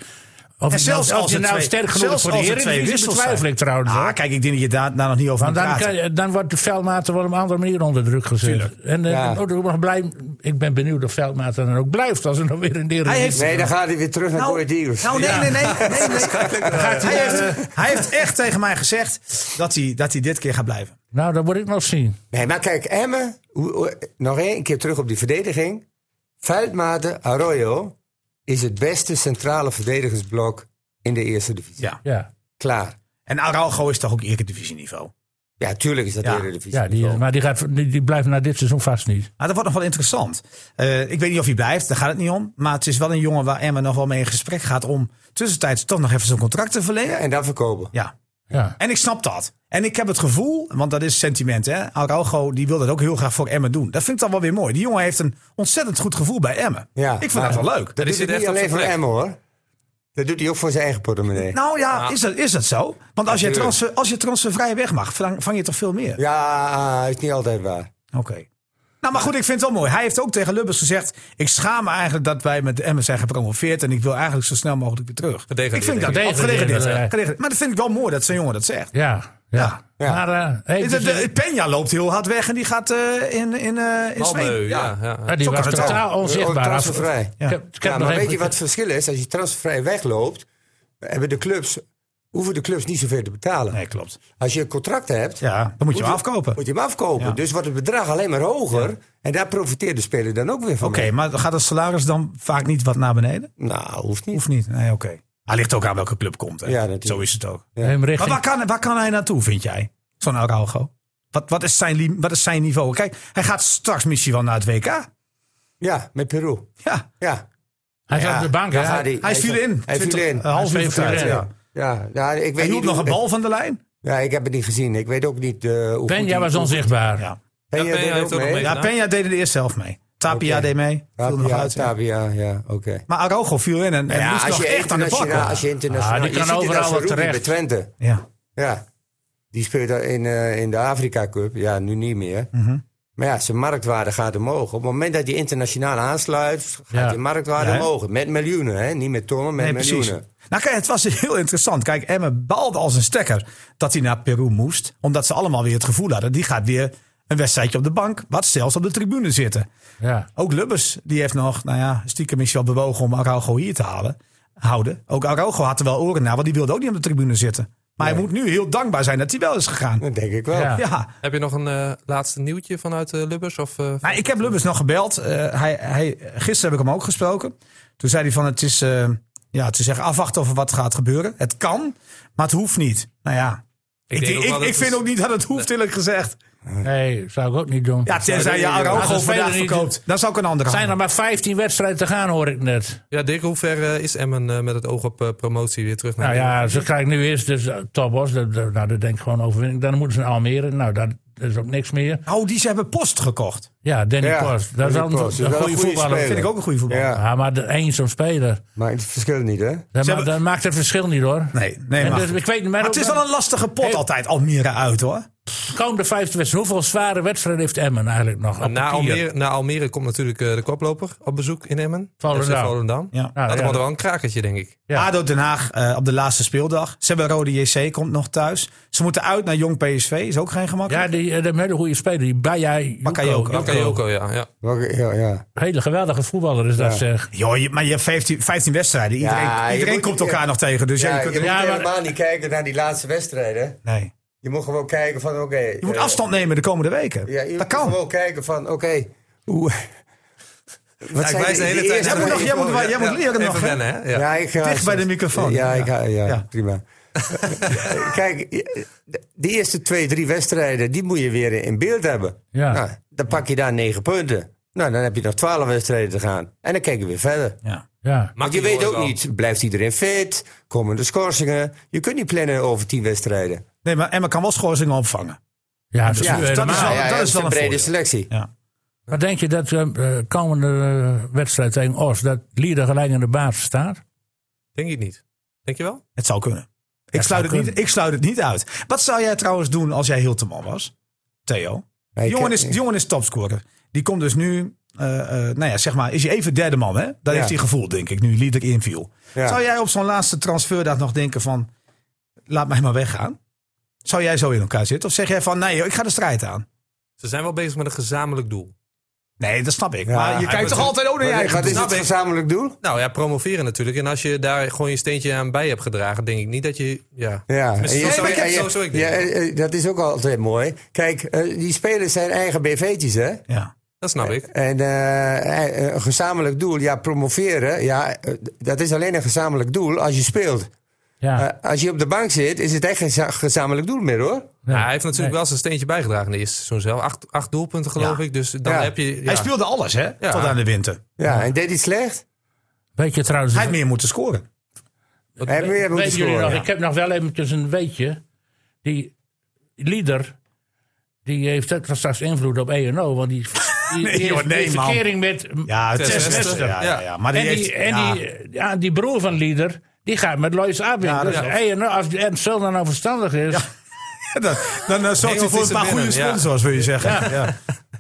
Speaker 1: Of
Speaker 5: En
Speaker 1: die nou-
Speaker 5: zelfs
Speaker 1: of
Speaker 5: als
Speaker 1: die
Speaker 5: er
Speaker 1: nou
Speaker 5: twee-
Speaker 1: sterk genoeg is
Speaker 5: zelfs
Speaker 1: voor de
Speaker 5: als er twee
Speaker 1: Eredivisie
Speaker 5: wissels
Speaker 1: betwijfel
Speaker 5: zijn.
Speaker 1: ik trouwens. hoor.
Speaker 5: Ah, kijk, ik denk dat je daar, daar nog niet over
Speaker 1: Want
Speaker 5: moet
Speaker 1: dan,
Speaker 5: praten.
Speaker 1: kan, je- dan wordt de veldmaat wel om andere manier onder druk gezet. En eh,
Speaker 6: Ja.
Speaker 1: dan ook nog blij, ik ben benieuwd of veldmaat dan ook blijft als er nog weer een
Speaker 5: Hij
Speaker 1: Eredivisie
Speaker 5: heeft-
Speaker 6: Nee, dan gaat hij weer terug naar nou, Deals.
Speaker 5: nou, nee, nee, nee. nee, nee. hij, heeft, hij heeft echt tegen mij gezegd dat hij, dat hij dit keer gaat blijven.
Speaker 1: Nou, dat moet ik nog zien.
Speaker 6: Nee, maar kijk, Emmen, hoe- hoe- nog één keer terug op die verdediging. Veldmaten Arroyo is het beste centrale verdedigingsblok in de eerste divisie.
Speaker 5: Ja.
Speaker 1: Ja,
Speaker 6: Klaar.
Speaker 5: En Araujo is toch ook divisieniveau.
Speaker 6: Ja, tuurlijk is dat
Speaker 5: Ja. eh,
Speaker 6: de Eredivisie.
Speaker 1: ja die, maar die, gaat, die, die blijft na dit seizoen vast niet.
Speaker 5: Maar Nou, dat wordt nog wel interessant. Eh, ik weet niet of hij blijft, daar gaat het niet om. Maar het is wel een jongen waar Emma nog wel mee in gesprek gaat om tussentijds toch nog even zijn contract te verlengen.
Speaker 6: Ja, en dan verkopen.
Speaker 5: Ja.
Speaker 1: Ja.
Speaker 5: En ik snap dat. En ik heb het gevoel, want dat is sentiment, hè. Araujo die wil dat ook heel graag voor Emmen doen. Dat vind ik dan wel weer mooi. Die jongen heeft een ontzettend goed gevoel bij Emmen.
Speaker 6: Ja,
Speaker 5: ik vind
Speaker 6: maar-
Speaker 5: dat wel leuk.
Speaker 6: Dat
Speaker 4: die
Speaker 6: doet
Speaker 4: zit
Speaker 6: hij
Speaker 4: echt
Speaker 6: niet
Speaker 4: op
Speaker 6: alleen
Speaker 4: zijn
Speaker 6: voor
Speaker 4: plek.
Speaker 6: Emmen hoor. Dat doet hij ook voor zijn eigen portemonnee.
Speaker 5: Nou ja, is dat, is dat zo? Want als je,
Speaker 6: tuurlijk.
Speaker 5: transfer, als je transfervrij weg mag, vang, vang je toch veel meer?
Speaker 6: Ja, is niet altijd waar.
Speaker 5: Oké. Nou, maar goed, ik vind het wel mooi. Hij heeft ook tegen Lubbers gezegd... ik schaam me eigenlijk dat wij met de Emmen zijn gepromoveerd... en ik wil eigenlijk zo snel mogelijk weer terug.
Speaker 4: Gedegradeerd,
Speaker 5: Ik vind dat
Speaker 1: denk ik.
Speaker 5: of gedegradeerd,
Speaker 1: Gedegradeerd, ja.
Speaker 5: hè. Gedegradeerd. Maar dat vind ik wel mooi dat zo'n jongen dat zegt.
Speaker 1: Ja, ja.
Speaker 6: Ja.
Speaker 1: Maar eh, hey,
Speaker 5: De,
Speaker 1: dus, eh,
Speaker 5: de- Peña loopt heel hard weg en die gaat eh, in, in, eh, in
Speaker 4: Malmö,
Speaker 5: Zweden.
Speaker 4: ja. ja,
Speaker 1: ja, die
Speaker 5: zo kan
Speaker 1: was
Speaker 5: het
Speaker 1: totaal
Speaker 6: ook.
Speaker 1: onzichtbaar.
Speaker 6: Oh, transfervrij.
Speaker 1: Ik heb, ik heb
Speaker 6: Ja,
Speaker 1: nog
Speaker 6: maar weet
Speaker 1: even-
Speaker 6: je wat het verschil is? Als je transfervrij wegloopt, hebben de clubs hoeven de clubs niet zoveel te betalen.
Speaker 5: Nee, klopt.
Speaker 6: Als je contracten hebt,
Speaker 5: Ja, dan moet je hem afkopen.
Speaker 6: moet je hem afkopen.
Speaker 5: Ja.
Speaker 6: Dus wordt het bedrag alleen maar hoger. En daar profiteert de speler dan ook weer van.
Speaker 5: Oké, maar gaat het salaris dan vaak niet wat naar beneden?
Speaker 6: mee. Nou, hoeft niet.
Speaker 5: Of niet? Nee, oké. Hij ligt ook aan welke club komt. Hè?
Speaker 6: Ja, natuurlijk.
Speaker 5: Zo is het ook.
Speaker 1: Hem
Speaker 5: Maar
Speaker 1: richting,
Speaker 5: waar kan, waar kan hij naartoe, vind jij? Zo'n Araujo. Wat, wat, is zijn, li- wat is zijn niveau? Kijk, hij gaat straks misschien wel naar het WK.
Speaker 6: Ja, met Peru.
Speaker 5: Ja,
Speaker 6: Ja.
Speaker 1: hij zat
Speaker 6: Ja,
Speaker 1: op de bank.
Speaker 6: daar
Speaker 1: hè?
Speaker 6: gaat
Speaker 1: Hij-
Speaker 5: hij viel in.
Speaker 6: Hij viel
Speaker 5: 20
Speaker 6: in.
Speaker 5: Een half
Speaker 1: Hij
Speaker 5: uur
Speaker 1: viel
Speaker 5: voor tijd,
Speaker 1: in.
Speaker 5: ja.
Speaker 6: Ja, nou, ik
Speaker 5: Hij
Speaker 6: weet
Speaker 5: hield
Speaker 6: niet
Speaker 5: nog
Speaker 6: hoe-
Speaker 5: een bal van de lijn.
Speaker 6: Ja, ik heb het niet gezien. Ik weet ook niet eh hoe
Speaker 1: Ben,
Speaker 6: goed
Speaker 1: jij
Speaker 6: hij-
Speaker 1: was onzichtbaar.
Speaker 5: Ja.
Speaker 6: Ben,
Speaker 4: Ja,
Speaker 6: jij
Speaker 4: Ben,
Speaker 6: deed
Speaker 4: hij heeft ook nog
Speaker 6: mee?
Speaker 4: mee.
Speaker 5: Ja, Peña deed er eerst zelf mee. Tapia
Speaker 6: nou? Oké.
Speaker 5: deed mee. Viel er nog
Speaker 6: Tapia,
Speaker 5: uit. ja.
Speaker 6: Tapia, ja, oké.
Speaker 5: Maar Araujo viel in en, en moest nog echt aan de bak.
Speaker 6: internationaal-
Speaker 5: hoor.
Speaker 6: Als je internationaal...
Speaker 1: Ah, die
Speaker 6: je
Speaker 1: kan
Speaker 6: ziet het
Speaker 1: overal
Speaker 6: als
Speaker 1: wel
Speaker 6: Ruby
Speaker 1: terecht.
Speaker 6: bij Twente.
Speaker 5: Ja.
Speaker 6: Ja. Die speelt daar in, eh, in de Afrika Cup. Ja, nu niet meer. Maar ja, zijn marktwaarde gaat omhoog. Op het moment dat hij internationaal aansluit, gaat
Speaker 1: Ja.
Speaker 6: de marktwaarde
Speaker 5: Ja, hè?
Speaker 6: omhoog. Met miljoenen, hè? Niet met tonnen, met
Speaker 5: Nee,
Speaker 6: miljoenen.
Speaker 5: precies. Nou, kijk, het was heel interessant. Kijk, Emmen baalde als een stekker dat hij naar Peru moest. Omdat ze allemaal weer het gevoel hadden, die gaat weer een wedstrijdje op de bank. Wat zelfs op de tribune zitten.
Speaker 1: Ja.
Speaker 5: Ook Lubbers, die heeft nog, nou ja, stiekem is hij wel bewogen om Araujo hier te halen, houden. Ook Araujo had er wel oren naar, want die wilde ook niet op de tribune zitten. Maar hij moet nu heel dankbaar zijn dat hij wel is gegaan.
Speaker 6: Dat denk ik wel.
Speaker 1: Ja.
Speaker 5: Ja.
Speaker 4: Heb je nog een eh, laatste nieuwtje vanuit eh, Lubbers? Of, eh,
Speaker 5: Nou, ik heb Lubbers nog gebeld. Eh, hij, hij, gisteren heb ik hem ook gesproken. Toen zei hij van het is, eh, ja, het is echt afwachten of er wat gaat gebeuren. Het kan, maar het hoeft niet. Nou ja, ik,
Speaker 4: denk
Speaker 5: ik,
Speaker 4: ook wel
Speaker 5: ik,
Speaker 4: dat
Speaker 5: ik vind
Speaker 4: het-
Speaker 5: ook niet dat het hoeft eerlijk gezegd.
Speaker 6: Hm.
Speaker 1: Nee, zou ik ook niet doen.
Speaker 5: Ja, tenzij je
Speaker 1: Als
Speaker 5: Araujo
Speaker 1: een speler
Speaker 5: vandaag
Speaker 1: niet-
Speaker 5: verkoopt. Dat is ook een andere
Speaker 1: Er zijn
Speaker 5: handel.
Speaker 1: nog maar 15 wedstrijden te gaan, hoor ik net.
Speaker 4: Ja, Dick, hoe ver eh, is Emmen eh, met het oog op eh, promotie weer terug?
Speaker 1: Nou
Speaker 4: naar
Speaker 1: ja, ze krijgen nu eerst dus, eh, Topos. Dat, dat- nou, dat denk ik gewoon overwinning. Dan moeten ze naar Almere. Nou, dat is ook niks meer.
Speaker 5: Oh, die ze hebben post gekocht.
Speaker 1: Ja, Danny
Speaker 6: Ja,
Speaker 1: Post. Dat is
Speaker 6: Danny
Speaker 1: al een,
Speaker 6: Post is
Speaker 1: een
Speaker 6: wel
Speaker 1: goede
Speaker 6: een goede
Speaker 1: voetballer.
Speaker 6: speler.
Speaker 5: Vind ik ook een goede voetbal.
Speaker 6: Ja.
Speaker 1: Ja, maar de- één zo'n speler.
Speaker 6: Maar het verschilt niet, hè?
Speaker 1: Dat, ma-
Speaker 5: hebben-
Speaker 1: dat maakt het verschil niet, hoor.
Speaker 5: Nee, nee,
Speaker 1: En
Speaker 5: maar.
Speaker 1: dus, ik weet niet,
Speaker 5: Maar het is wel een lastige pot altijd, Almere uit hoor.
Speaker 1: komende vijfde wedstrijd. Hoeveel zware wedstrijden heeft Emmen eigenlijk nog? Op
Speaker 4: Na
Speaker 1: papier?
Speaker 4: Almere, na Almere komt natuurlijk eh, de koploper op bezoek in Emmen.
Speaker 1: Volendam.
Speaker 4: FC Volendam.
Speaker 5: Ja.
Speaker 1: Nou,
Speaker 4: dat
Speaker 1: ja.
Speaker 4: wordt wel een krakertje, denk ik.
Speaker 1: Ja.
Speaker 5: ADO Den Haag eh, op de laatste speeldag. Ze hebben Rode JC, komt nog thuis. Ze moeten uit naar Jong PSV, is ook geen gemakkelijk.
Speaker 1: Ja, die, eh, een hele goede speler. Die Baya
Speaker 5: Bakayoko.
Speaker 1: Joko.
Speaker 4: Bakayoko, ja. ja.
Speaker 6: Welke- Ja, ja.
Speaker 1: Hele geweldige voetballer is dat,
Speaker 6: Ja.
Speaker 1: zeg.
Speaker 5: Joh, je- maar je hebt 15, 15 wedstrijden. Iedereen,
Speaker 6: Ja, je
Speaker 5: iedereen
Speaker 6: moet-
Speaker 5: komt elkaar nog tegen. Dus ja,
Speaker 6: Ja,
Speaker 5: je
Speaker 6: je
Speaker 5: kunt
Speaker 6: moet
Speaker 1: Ja, maar-
Speaker 6: helemaal niet kijken naar die laatste wedstrijden.
Speaker 5: nee.
Speaker 6: Je moet gewoon kijken van, oké...
Speaker 5: je moet
Speaker 6: eh,
Speaker 5: afstand nemen de komende weken.
Speaker 6: Ja, je
Speaker 5: dat
Speaker 6: moet
Speaker 5: kan.
Speaker 6: gewoon kijken van, oké... hoe-
Speaker 4: wijs
Speaker 6: Wat
Speaker 4: de hele tijd
Speaker 5: Jij
Speaker 6: eerste
Speaker 5: moet, nog,
Speaker 6: twee-
Speaker 5: jij moet, jij moet leren
Speaker 4: Even
Speaker 5: nog. hè?
Speaker 4: wennen, hè? Ja.
Speaker 6: Ja, ik ga
Speaker 5: Dicht bij de microfoon.
Speaker 6: Ja, ik ga, ja,
Speaker 5: Ja.
Speaker 6: prima. Kijk, de eerste twee, drie wedstrijden, die moet je weer in beeld hebben.
Speaker 1: Ja.
Speaker 6: Nou, dan pak je daar negen punten. Nou, dan heb je nog twaalf wedstrijden te gaan. En dan kijk je weer verder.
Speaker 5: Ja.
Speaker 1: Ja.
Speaker 6: Want je
Speaker 4: die
Speaker 6: weet
Speaker 4: jongens
Speaker 6: ook
Speaker 4: wel.
Speaker 6: niet, blijft iedereen fit? Komen de schorsingen? Je kunt niet plannen over tien wedstrijden.
Speaker 5: Nee, maar Emma kan wel schorsingen opvangen.
Speaker 1: Ja, dat is
Speaker 5: Ja,
Speaker 1: nu
Speaker 5: dat is
Speaker 1: helemaal.
Speaker 5: wel- dat is
Speaker 6: het
Speaker 5: wel een
Speaker 6: brede
Speaker 5: voordeel.
Speaker 6: selectie.
Speaker 5: Ja.
Speaker 1: Maar denk je dat eh, eh, komende eh, wedstrijd tegen Os... dat Lieder gelijk aan de baas staat?
Speaker 4: Denk ik niet. Denk je wel?
Speaker 5: Het zou kunnen. Ik,
Speaker 1: het zou
Speaker 5: sluit het niet,
Speaker 1: kunnen.
Speaker 5: ik sluit het niet uit. Wat zou jij trouwens doen als jij Hilteman was? Theo.
Speaker 6: Maar
Speaker 5: Die
Speaker 6: je
Speaker 5: jongen,
Speaker 6: kan-
Speaker 5: is, die jongen is topscorer. Die komt dus nu, eh, eh, nou ja, zeg maar, is hij even derde man, hè? Dat heeft hij gevoel, denk ik, nu Lieder inviel.
Speaker 6: Ja.
Speaker 5: Zou jij op zo'n laatste transferdag nog denken van, laat mij maar weggaan? Zou jij zo in elkaar zitten? Of zeg jij van, nee, joh, ik ga de strijd aan?
Speaker 4: Ze zijn wel bezig met een gezamenlijk doel.
Speaker 5: Nee, dat snap ik.
Speaker 6: Ja,
Speaker 5: maar
Speaker 6: hij
Speaker 5: je kijkt
Speaker 4: wordt
Speaker 5: toch
Speaker 4: een-
Speaker 5: altijd ook naar je
Speaker 6: Wat,
Speaker 5: eigen
Speaker 6: wat is
Speaker 5: doel?
Speaker 6: het gezamenlijk doel?
Speaker 4: Nou ja, promoveren natuurlijk. En als je daar gewoon je steentje aan bij hebt gedragen, denk ik niet dat je... Ja,
Speaker 6: Ja, en
Speaker 4: Tenminste,
Speaker 6: je-
Speaker 4: zo zou ik-
Speaker 6: en je-
Speaker 4: zo zou ik
Speaker 6: ja,
Speaker 4: denken.
Speaker 6: eh, eh, dat is ook altijd mooi. Kijk, eh, die spelers zijn eigen BV'tjes, hè?
Speaker 5: Ja.
Speaker 4: dat snap ik.
Speaker 6: En eh, eh, een gezamenlijk doel, ja, promoveren, ja, eh, dat is alleen een gezamenlijk doel als je speelt.
Speaker 1: Ja.
Speaker 6: Eh, als je op de bank zit, is het echt geen za- gezamenlijk doel meer, hoor.
Speaker 1: Nee.
Speaker 4: Ja, hij heeft natuurlijk wel zijn steentje bijgedragen in de eerste seizoen zelf. Acht, acht doelpunten geloof
Speaker 5: Ja.
Speaker 4: ik. Dus dan
Speaker 6: Ja.
Speaker 4: heb je... Ja.
Speaker 5: Hij speelde alles, hè?
Speaker 4: Ja.
Speaker 5: Tot aan de winter.
Speaker 6: Ja, en deed hij slecht?
Speaker 1: Weet je trouwens...
Speaker 5: Hij had meer moeten scoren.
Speaker 6: Hij heeft meer moeten
Speaker 1: Weten jullie
Speaker 6: scoren.
Speaker 1: nog, ik heb nog wel eventjes een weetje. Die Lieder, die heeft ook straks invloed op ENO. Want die, die,
Speaker 5: Nee,
Speaker 1: die
Speaker 5: joh,
Speaker 1: heeft
Speaker 5: nee,
Speaker 1: een
Speaker 5: man.
Speaker 1: verkering met...
Speaker 5: Ja, het
Speaker 4: Zes
Speaker 5: is best.
Speaker 4: westen.
Speaker 5: Ja, ja, ja. Maar die
Speaker 1: en die,
Speaker 5: heeft-
Speaker 1: en
Speaker 5: ja.
Speaker 1: die, ja, die broer van Lieder, die gaat met Lois Abing.
Speaker 5: Ja, dat
Speaker 1: dus
Speaker 5: is-
Speaker 1: ENO, als Ernst Zilder nou verstandig is...
Speaker 5: Dan, dan eh, zorgt hij
Speaker 4: Engels
Speaker 5: voor een
Speaker 4: is
Speaker 5: paar
Speaker 4: er
Speaker 5: goede
Speaker 4: binnen, ja.
Speaker 5: sponsors, wil je zeggen. Ja.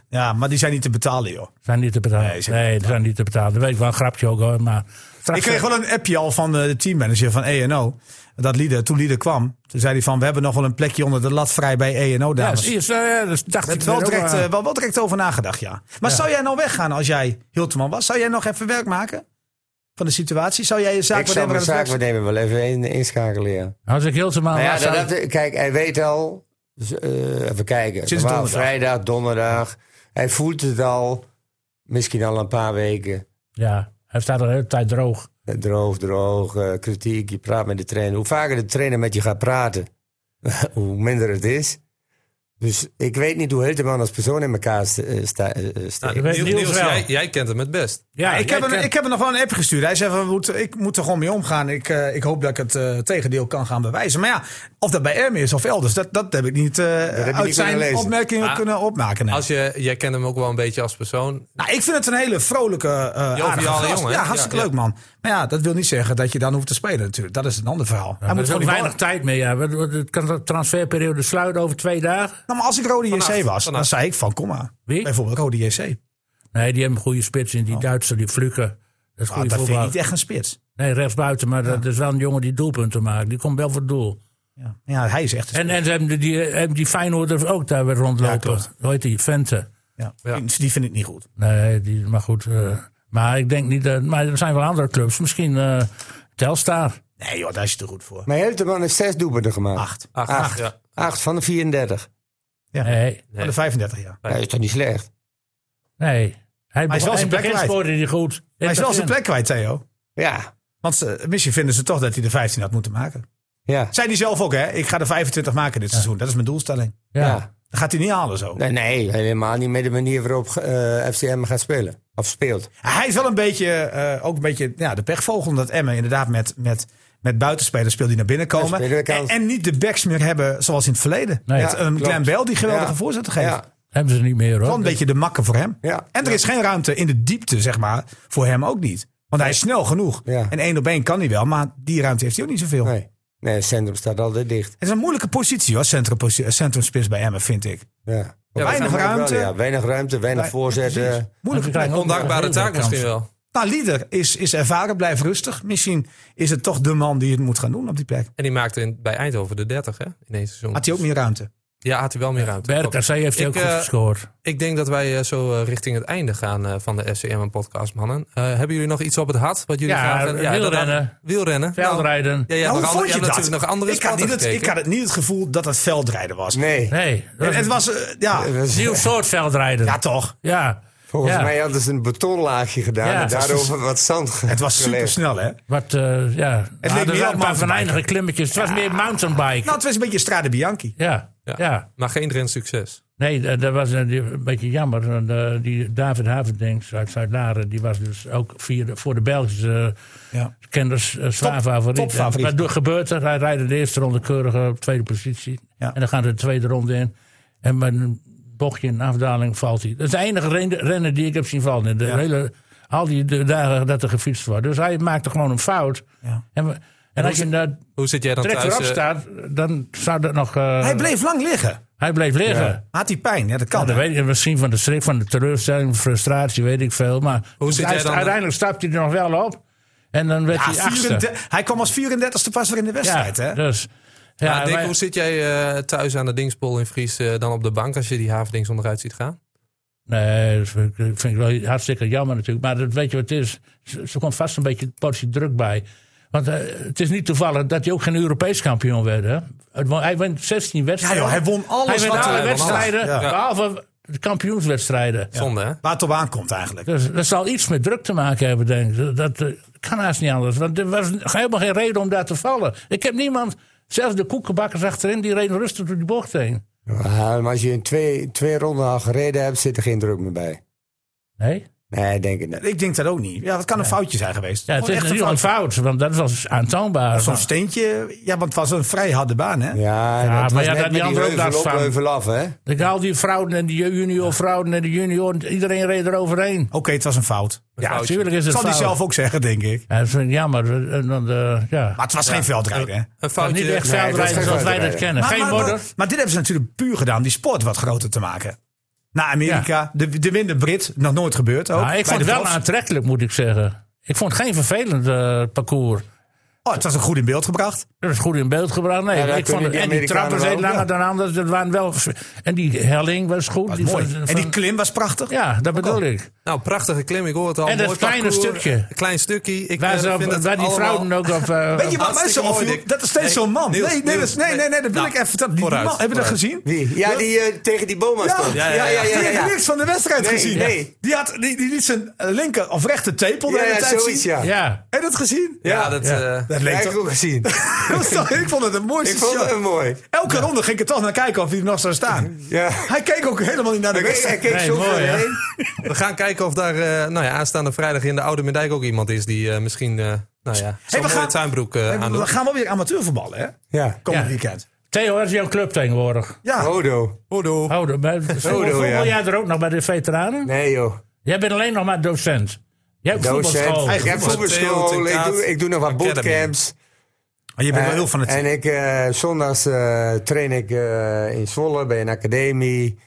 Speaker 5: Ja. maar die zijn niet te betalen, joh.
Speaker 1: Zijn niet te betalen.
Speaker 5: Nee,
Speaker 1: Nee,
Speaker 5: ze-
Speaker 1: ze zijn niet te betalen. Dat weet ik wel een grapje ook hoor. Maar straks
Speaker 5: Ik kreeg wel een appje al van eh, de teammanager van ENO. Dat Lieder, toen Lieder kwam, toen zei hij van... we hebben nog wel een plekje onder de lat vrij bij ENO,
Speaker 1: ja,
Speaker 5: dames.
Speaker 1: zie je, nou ja, dat dacht
Speaker 5: Er
Speaker 1: ik
Speaker 5: werd wel
Speaker 1: weer
Speaker 5: direct,
Speaker 1: ook
Speaker 5: eh,
Speaker 1: aan.
Speaker 5: wel, wel direct over nagedacht, ja. Maar zou jij nou weggaan als jij Hilteman was? Zou jij nog even werk maken? van de situatie? Zou jij je zaak
Speaker 6: ik zal
Speaker 5: aan
Speaker 6: mijn
Speaker 5: het werk
Speaker 6: zaak nemen wel even in- inschakelen, ja.
Speaker 5: eh,
Speaker 1: Als ik heel te
Speaker 6: Nou ja,
Speaker 1: was, zou-
Speaker 6: dat- dat- kijk, hij weet al. z- eh, even kijken.
Speaker 5: Sinds
Speaker 6: normaal
Speaker 5: donderdag.
Speaker 6: vrijdag, donderdag. Hij voelt het al. Misschien al een paar weken.
Speaker 1: ja, hij staat al de hele tijd droog.
Speaker 6: Eh, Droog, droog, eh, kritiek. Je praat met de trainer. Hoe vaker de trainer met je gaat praten, hoe minder het is. Dus ik weet niet hoe Hilteman als persoon in elkaar st- eh, sta- eh, eh, steekt.
Speaker 1: Nou, weet
Speaker 4: Niels,
Speaker 1: Niels wel.
Speaker 4: jij, jij kent hem het best.
Speaker 1: Ja,
Speaker 5: ik, heb hem, ik heb hem nog wel een app gestuurd. Hij zei, van, we moeten- ik moet er gewoon mee omgaan. Ik, eh, ik hoop dat ik het eh, tegendeel kan gaan bewijzen. Maar ja, of dat bij Erme is of elders, dat, dat heb ik niet eh,
Speaker 6: niet
Speaker 5: uit
Speaker 6: kunnen
Speaker 5: zijn
Speaker 6: lezen.
Speaker 5: opmerkingen
Speaker 4: Ah.
Speaker 5: kunnen opmaken. nee.
Speaker 4: Als je, jij kent hem ook wel een beetje als persoon.
Speaker 5: Nou, ik vind het een hele vrolijke, eh aardige
Speaker 4: Joviale
Speaker 5: gast.
Speaker 4: jongen, hè?
Speaker 5: Ja, hartstikke
Speaker 4: Ja, ja.
Speaker 5: leuk, man. Maar ja, dat wil niet zeggen dat je dan hoeft te spelen natuurlijk. Dat is een ander verhaal.
Speaker 1: Hij
Speaker 5: Hij moet
Speaker 1: moet
Speaker 5: gewoon
Speaker 1: ook
Speaker 5: die
Speaker 1: weinig
Speaker 5: bal-
Speaker 1: tijd meer. Ja. Wat- wat- Het kan de transferperiode sluiten over twee dagen.
Speaker 5: Nou, maar als ik Rode JC
Speaker 4: Vannacht,
Speaker 5: was, dan
Speaker 4: vannacht.
Speaker 5: zei ik van, kom maar.
Speaker 1: Wie?
Speaker 5: Bijvoorbeeld Rode Nou, JC.
Speaker 1: Nee, die hebben een goede spits in. Die Duitser, die Fluke. Dat is
Speaker 5: Oh. Ah,
Speaker 1: goede
Speaker 5: dat vind ik
Speaker 1: voetbal.
Speaker 5: niet echt een spits.
Speaker 1: Nee, rechtsbuiten. Maar dat is wel een jongen die doelpunten maakt. Die komt wel voor het doel.
Speaker 5: Ja, ja hij is echt een
Speaker 1: En, en ze hebben die, hebben die Feyenoorders ook daar weer rondlopen.
Speaker 5: klopt.
Speaker 1: Hoe heet die? Vente.
Speaker 5: Ja.
Speaker 4: Ja.
Speaker 5: Die, die vind ik niet goed.
Speaker 1: Nee, die, maar goed. eh, maar ik denk niet... dat. maar er zijn wel andere clubs. Misschien eh, Telstar.
Speaker 5: Nee joh, daar is je te goed voor.
Speaker 6: Maar Hilteman heeft zes doelpunten gemaakt.
Speaker 5: Acht.
Speaker 4: Acht.
Speaker 6: Acht.
Speaker 4: Ja.
Speaker 6: Acht van de 34.
Speaker 1: Nee,
Speaker 5: Van de 35 jaar.
Speaker 6: Dat is toch niet slecht?
Speaker 1: nee. Hij,
Speaker 5: wel zijn plek
Speaker 1: begint
Speaker 5: kwijt.
Speaker 1: scoorde hij goed.
Speaker 5: Hij is wel zijn plek kwijt, Theo.
Speaker 6: Ja.
Speaker 5: Want ze- misschien vinden ze toch dat hij de 15 had moeten maken.
Speaker 6: Ja.
Speaker 5: Zei hij zelf ook, hè? Ik ga de 25 maken dit seizoen. Dat is mijn doelstelling.
Speaker 1: Ja.
Speaker 6: ja.
Speaker 5: Dat gaat hij niet halen zo.
Speaker 6: Nee, nee, helemaal niet met de manier waarop eh, FCM gaat spelen. Of speelt.
Speaker 5: Hij is wel een beetje, eh, ook een beetje ja, de pechvogel. Omdat Emmen inderdaad met, met, met buitenspelers speelt die naar binnen
Speaker 6: Ja,
Speaker 5: komen.
Speaker 6: spelen we
Speaker 5: en,
Speaker 6: kans.
Speaker 5: en niet de backs meer hebben zoals in het verleden.
Speaker 1: Nee.
Speaker 5: met
Speaker 1: Ja,
Speaker 5: een
Speaker 6: klopt.
Speaker 5: Glenn Bell die geweldige
Speaker 6: Ja.
Speaker 5: voorzetten geeft.
Speaker 6: Ja.
Speaker 1: Hebben ze niet meer hoor.
Speaker 5: Wel een beetje de makken voor hem.
Speaker 6: Ja.
Speaker 5: En er is geen ruimte in de diepte, zeg maar, voor hem ook niet. Want hij is snel genoeg.
Speaker 6: Ja.
Speaker 5: En één op één kan hij wel, maar die ruimte heeft hij ook niet zoveel.
Speaker 6: Nee. nee, het centrum staat altijd dicht.
Speaker 5: Het is een moeilijke positie hoor, centrumposi- eh, centrumspits bij Emmen, vind ik.
Speaker 6: Ja.
Speaker 5: weinig
Speaker 6: Wel,
Speaker 5: ruimte.
Speaker 6: ja. Weinig ruimte, weinig
Speaker 5: Wij- Precies.
Speaker 6: voorzetten.
Speaker 5: Moeilijke plek.
Speaker 4: Ondankbare taak misschien wel.
Speaker 5: Nou, Lieder is, is ervaren, blijft rustig. Misschien is het toch de man die het moet gaan doen op die plek.
Speaker 4: En die maakte in, bij Eindhoven de 30 hè, in deze seizoen.
Speaker 5: Had hij ook meer ruimte?
Speaker 4: Ja, had hij wel meer ruimte.
Speaker 1: Berkers, hij heeft hij
Speaker 4: Ik,
Speaker 1: ook goed
Speaker 4: eh,
Speaker 1: gescoord.
Speaker 4: Ik denk dat wij eh, zo eh, richting het einde gaan eh, van de FCM en podcast, mannen. Eh, hebben jullie nog iets op het hart? Wat jullie
Speaker 1: Ja,
Speaker 4: graag-
Speaker 1: wielrennen.
Speaker 4: dat- wielrennen.
Speaker 1: Veldrijden.
Speaker 4: Nou, ja, ja,
Speaker 5: Nou,
Speaker 4: maar
Speaker 5: hoe
Speaker 4: ander-
Speaker 5: vond
Speaker 4: je
Speaker 5: je
Speaker 4: hebt
Speaker 5: dat?
Speaker 4: natuurlijk nog andere
Speaker 5: ik, had niet
Speaker 4: sporten
Speaker 5: het, ik
Speaker 4: gekeken.
Speaker 5: had het niet het gevoel dat het veldrijden was.
Speaker 6: Nee.
Speaker 1: Nee, dat
Speaker 5: En
Speaker 1: is
Speaker 5: het
Speaker 1: een
Speaker 5: was, eh, ja,
Speaker 1: nieuw soort veldrijden.
Speaker 5: ja
Speaker 1: Ja.
Speaker 5: toch.
Speaker 6: Volgens
Speaker 1: Ja.
Speaker 6: mij hadden ze een betonlaagje gedaan
Speaker 1: Ja.
Speaker 6: en daarover wat zand
Speaker 5: Het was super snel hè. Nou,
Speaker 1: Wat, eh, ja. Het
Speaker 5: meer op
Speaker 1: een paar
Speaker 5: mountainbiken.
Speaker 1: venijnige klimmetjes. Het was meer mountainbike.
Speaker 5: Nou, het was een beetje Strade Bianchi.
Speaker 1: Ja, ja.
Speaker 4: Maar geen Drents succes.
Speaker 1: Nee, dat dat was een, een beetje jammer. En, eh, die David Havendings uit Zuid-Laren... die was dus ook via de- voor de Belgische
Speaker 5: Ja.
Speaker 1: kenners eh, zwaar
Speaker 5: Top-
Speaker 1: favoriet.
Speaker 5: topfavoriet.
Speaker 1: En Wat gebeurt er? Hij rijdt in de eerste ronde keurig eh, op tweede positie.
Speaker 5: Ja.
Speaker 1: En dan gaat hij de tweede ronde in. En met een bochtje in de afdaling valt hij. Dat is de enige ren- renner die ik heb zien vallen. De hele, al die de dagen dat er gefietst wordt. Dus hij maakte gewoon een fout.
Speaker 5: Ja.
Speaker 1: En, we- en, als je daar
Speaker 4: Hoe zit jij dan
Speaker 1: direct
Speaker 4: thuis?
Speaker 1: voorop
Speaker 4: eh,
Speaker 1: staat, dan zou dat nog... eh,
Speaker 5: Hij bleef lang liggen.
Speaker 1: hij bleef liggen.
Speaker 5: Had hij pijn? Ja, dat kan.
Speaker 1: Nou, dat
Speaker 5: hè?
Speaker 1: weet ik, misschien van de schrik, van de teleurstelling, frustratie, weet ik veel. Maar
Speaker 4: Hoe zit
Speaker 1: hij-
Speaker 4: jij dan-
Speaker 1: uiteindelijk stapt hij er nog wel op. En dan werd
Speaker 5: Ja,
Speaker 1: hij achtste.
Speaker 5: 34 Ah, hij kwam als 34ste pas weer in de wedstrijd, hè?
Speaker 1: Dus,
Speaker 4: ja,
Speaker 1: ja,
Speaker 4: Dick,
Speaker 1: wij-
Speaker 4: hoe zit jij eh, thuis aan de Dingspol in Fries eh, dan op de bank als je die Havendings onderuit ziet gaan?
Speaker 1: Nee, dat vind ik, vind ik wel hartstikke jammer natuurlijk. Maar dat, weet je wat het is? Ze, ze komt vast een beetje een portie druk bij. Want eh, het is niet toevallig dat hij ook geen Europees kampioen werd. Hè? Het won- Hij won 16
Speaker 5: Ja,
Speaker 1: wedstrijden.
Speaker 5: joh, hij won alles
Speaker 1: Hij
Speaker 5: wat
Speaker 1: wint alle
Speaker 5: er
Speaker 4: hij won
Speaker 1: wedstrijden,
Speaker 5: alles. Ja.
Speaker 1: behalve de kampioenswedstrijden.
Speaker 4: Zonde, hè?
Speaker 5: waar het op aankomt eigenlijk.
Speaker 1: Dus dat zal iets met druk te maken hebben, denk ik. Dat, dat, eh, kan haast niet anders. Want er was helemaal geen reden om daar te vallen. Ik heb niemand, zelfs de koekenbakkers achterin, die reden rustig door die bocht heen.
Speaker 6: Ja, maar als je in twee, twee ronden al gereden hebt, zit er geen druk meer bij.
Speaker 1: Nee?
Speaker 6: Nee, denk ik niet.
Speaker 5: Ik denk dat ook niet. Ja, dat kan een foutje zijn geweest.
Speaker 1: Ja, het
Speaker 5: Gewoon
Speaker 1: is
Speaker 5: echt een
Speaker 1: natuurlijk een
Speaker 5: foutje.
Speaker 1: fout, want dat was aantoonbaar.
Speaker 5: Zo'n steentje. Ja, want het was een vrij harde baan, hè?
Speaker 6: Ja,
Speaker 1: Ja, maar
Speaker 6: dat was
Speaker 1: ja,
Speaker 6: net
Speaker 1: dat
Speaker 6: met
Speaker 1: die andere ook
Speaker 6: heuvel
Speaker 1: daar
Speaker 6: op,
Speaker 1: staan.
Speaker 6: heuvel af, hè?
Speaker 1: Ik al die vrouwen en die junior vrouwen en de junior, iedereen reed er overheen.
Speaker 5: Oké, het was een fout.
Speaker 1: Ja,
Speaker 4: foutje.
Speaker 1: natuurlijk is het
Speaker 5: zal hij
Speaker 1: fout.
Speaker 5: zelf ook zeggen, denk ik.
Speaker 1: Ja, dat vind ik jammer. En dan, eh, ja.
Speaker 5: Maar het was geen veldrijden, hè?
Speaker 4: Een
Speaker 1: Maar
Speaker 4: foutje.
Speaker 1: niet echt
Speaker 6: nee, dat is
Speaker 1: veldrijden
Speaker 6: geen
Speaker 1: zoals wij dat
Speaker 6: veldrijden.
Speaker 1: kennen.
Speaker 5: Maar,
Speaker 1: Geen
Speaker 5: maar,
Speaker 1: modder.
Speaker 5: Maar, maar dit hebben ze natuurlijk puur gedaan om die sport wat groter te maken. Na Amerika, de, de winnende Brit, nog nooit gebeurd ook.
Speaker 1: Nou, ik
Speaker 5: bij
Speaker 1: vond
Speaker 5: de
Speaker 1: het wel
Speaker 5: profs.
Speaker 1: aantrekkelijk, moet ik zeggen. Ik vond het geen vervelend eh, parcours.
Speaker 5: Oh, het was ook goed in beeld gebracht.
Speaker 1: Dat is goed in beeld gebracht. Nee,
Speaker 6: Ja, daar
Speaker 1: ik vond
Speaker 6: kunnen
Speaker 1: het,
Speaker 6: die
Speaker 1: en die
Speaker 6: Amerikanen
Speaker 1: trappen zijn
Speaker 6: wel,
Speaker 1: langer
Speaker 6: ja.
Speaker 1: dan anders. Dat waren wel, en die helling was goed.
Speaker 5: Was
Speaker 1: die
Speaker 5: mooi.
Speaker 1: van-
Speaker 5: en die
Speaker 1: van-
Speaker 5: klim was prachtig.
Speaker 1: ja, dat bedoel ik.
Speaker 4: Nou, prachtige klim, ik hoor het al.
Speaker 1: En dat
Speaker 4: Mooi
Speaker 1: kleine
Speaker 4: parcours,
Speaker 1: stukje.
Speaker 4: een Klein stukje. Ik
Speaker 1: Waar,
Speaker 4: eh,
Speaker 1: ze op-
Speaker 4: vind het
Speaker 1: waar die
Speaker 4: allemaal-
Speaker 1: vrouw dan ook op... eh,
Speaker 5: Weet je wat mij zo
Speaker 4: Hartstikke mooi,
Speaker 5: opviel?
Speaker 4: Dick.
Speaker 5: Dat is steeds
Speaker 4: Nee,
Speaker 5: zo'n man.
Speaker 4: Niels,
Speaker 5: nee, nee,
Speaker 4: Niels,
Speaker 5: dat is- nee, nee, nee, dat wil
Speaker 4: nou,
Speaker 5: ik even vertellen. Die
Speaker 4: vooruit,
Speaker 5: man, heb je dat
Speaker 4: vooruit.
Speaker 5: gezien?
Speaker 6: Wie? Ja, die eh, tegen die boom aan stond.
Speaker 4: ja, ja,
Speaker 5: Die heeft
Speaker 6: ja.
Speaker 5: niks van de wedstrijd
Speaker 6: Nee,
Speaker 5: gezien.
Speaker 6: nee.
Speaker 5: Die, had, die, die liet zijn eh, linker of rechter tepel de
Speaker 6: Ja,
Speaker 5: hele
Speaker 6: ja,
Speaker 5: tijd
Speaker 6: zoiets,
Speaker 5: zien.
Speaker 6: ja.
Speaker 1: ja,
Speaker 5: Heb je dat gezien?
Speaker 4: Ja, dat... eh,
Speaker 5: Dat
Speaker 6: Ja,
Speaker 5: leek
Speaker 6: ik
Speaker 5: toch...
Speaker 6: heb ook gezien.
Speaker 5: dat was toch- Ik vond het een mooiste
Speaker 6: Ik vond het
Speaker 5: shot.
Speaker 6: hem mooi.
Speaker 5: Elke ronde ging ik er toch naar kijken of hij er nog zou staan.
Speaker 6: Ja.
Speaker 5: Hij keek ook helemaal niet naar de
Speaker 6: Hij keek- hij
Speaker 5: wedstrijd.
Speaker 6: keek
Speaker 1: Nee,
Speaker 6: zo
Speaker 1: mooi,
Speaker 6: mooi,
Speaker 1: hè?
Speaker 6: heen.
Speaker 4: We gaan kijken of daar eh, nou ja, aanstaande vrijdag in de Oude Mendijk ook iemand is die eh, misschien eh nou ja, zo'n
Speaker 5: we
Speaker 4: mooie
Speaker 5: gaan-
Speaker 4: tuinbroek eh,
Speaker 5: We
Speaker 4: aandoet.
Speaker 5: gaan wel weer amateurvoetballen, hè?
Speaker 6: Ja. Ah.
Speaker 5: Komend
Speaker 1: Ja.
Speaker 5: weekend.
Speaker 1: Theo, dat is jouw club tegenwoordig.
Speaker 6: Oh.
Speaker 5: Ja.
Speaker 6: Odo.
Speaker 4: Hoedoe.
Speaker 1: Oh, dat- maar- voetbal
Speaker 6: ja.
Speaker 1: jij er ook nog bij de veteranen?
Speaker 6: Nee, joh.
Speaker 1: Jij bent alleen nog maar docent. Jij hebt voetbalschool.
Speaker 6: Docent. Ik heb
Speaker 4: voetbal. Theo
Speaker 6: voetbalschool.
Speaker 4: ten
Speaker 6: Ik
Speaker 4: Kaat
Speaker 6: doe, ik doe nog wat
Speaker 4: Academy.
Speaker 6: bootcamps.
Speaker 5: Maar je bent wel
Speaker 6: Eh,
Speaker 5: heel van het
Speaker 6: En ik, eh, zondags eh, train ik eh, in Zwolle bij een academie.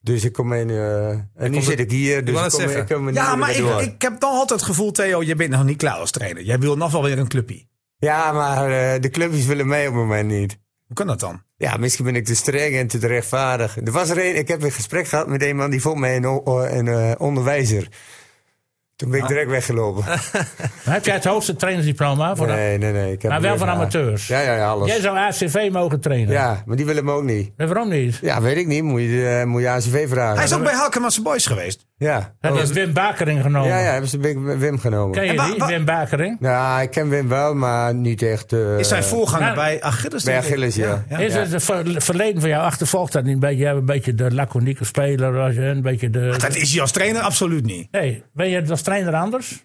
Speaker 6: Dus ik kom in... eh, en nu
Speaker 4: komt
Speaker 6: zit
Speaker 4: het-
Speaker 6: ik hier, dus
Speaker 4: wou
Speaker 6: ik
Speaker 4: het
Speaker 6: kom,
Speaker 4: zeggen.
Speaker 6: ik kom er niet
Speaker 5: Ja,
Speaker 6: meer
Speaker 5: maar ik,
Speaker 6: door.
Speaker 5: ik heb dan altijd het gevoel, Theo, je bent nog niet klaar als trainer. Jij wil nog wel weer een clubje.
Speaker 6: Ja, maar eh, de clubjes willen mij op het moment niet.
Speaker 5: Hoe kan dat dan?
Speaker 6: Ja, misschien ben ik te streng en te rechtvaardig. Er was er een, ik heb een gesprek gehad met een man die vond mij een, o- een eh, onderwijzer. Toen
Speaker 1: Ah.
Speaker 6: ben ik direct weggelopen.
Speaker 1: Maar Heb jij het hoogste trainersdiploma? Voor dat?
Speaker 6: Nee, nee, nee. Ik heb
Speaker 1: Maar wel
Speaker 6: weer-
Speaker 1: van
Speaker 6: ja.
Speaker 1: amateurs.
Speaker 6: Ja, ja, ja,
Speaker 1: Jij
Speaker 6: alles.
Speaker 1: zou ACV mogen trainen.
Speaker 6: Ja, maar die willen me ook niet.
Speaker 1: En waarom niet?
Speaker 6: Ja, weet ik niet. Moet je, eh, moet je ACV vragen.
Speaker 5: Hij is ook bij Halkemasse Boys geweest.
Speaker 6: Ja.
Speaker 1: Hebben ze Wim Bakering genomen?
Speaker 6: Ja, ja, hebben ze Wim- Wim genomen.
Speaker 1: Ken je
Speaker 5: En wa-
Speaker 1: die,
Speaker 5: wa-
Speaker 1: Wim Bakering?
Speaker 6: Nou, ik ken Wim wel, maar niet echt. eh,
Speaker 5: Is zijn voorganger
Speaker 1: nou,
Speaker 5: bij Achilles?
Speaker 6: bij
Speaker 5: denk ik.
Speaker 6: Achilles, ja.
Speaker 1: Is het het ver- verleden van jou achtervolgt dat niet een beetje? Jij bent een beetje de laconieke speler, als je een beetje de...
Speaker 5: Dat is hij als trainer absoluut niet.
Speaker 1: Nee, ben je als trainer anders?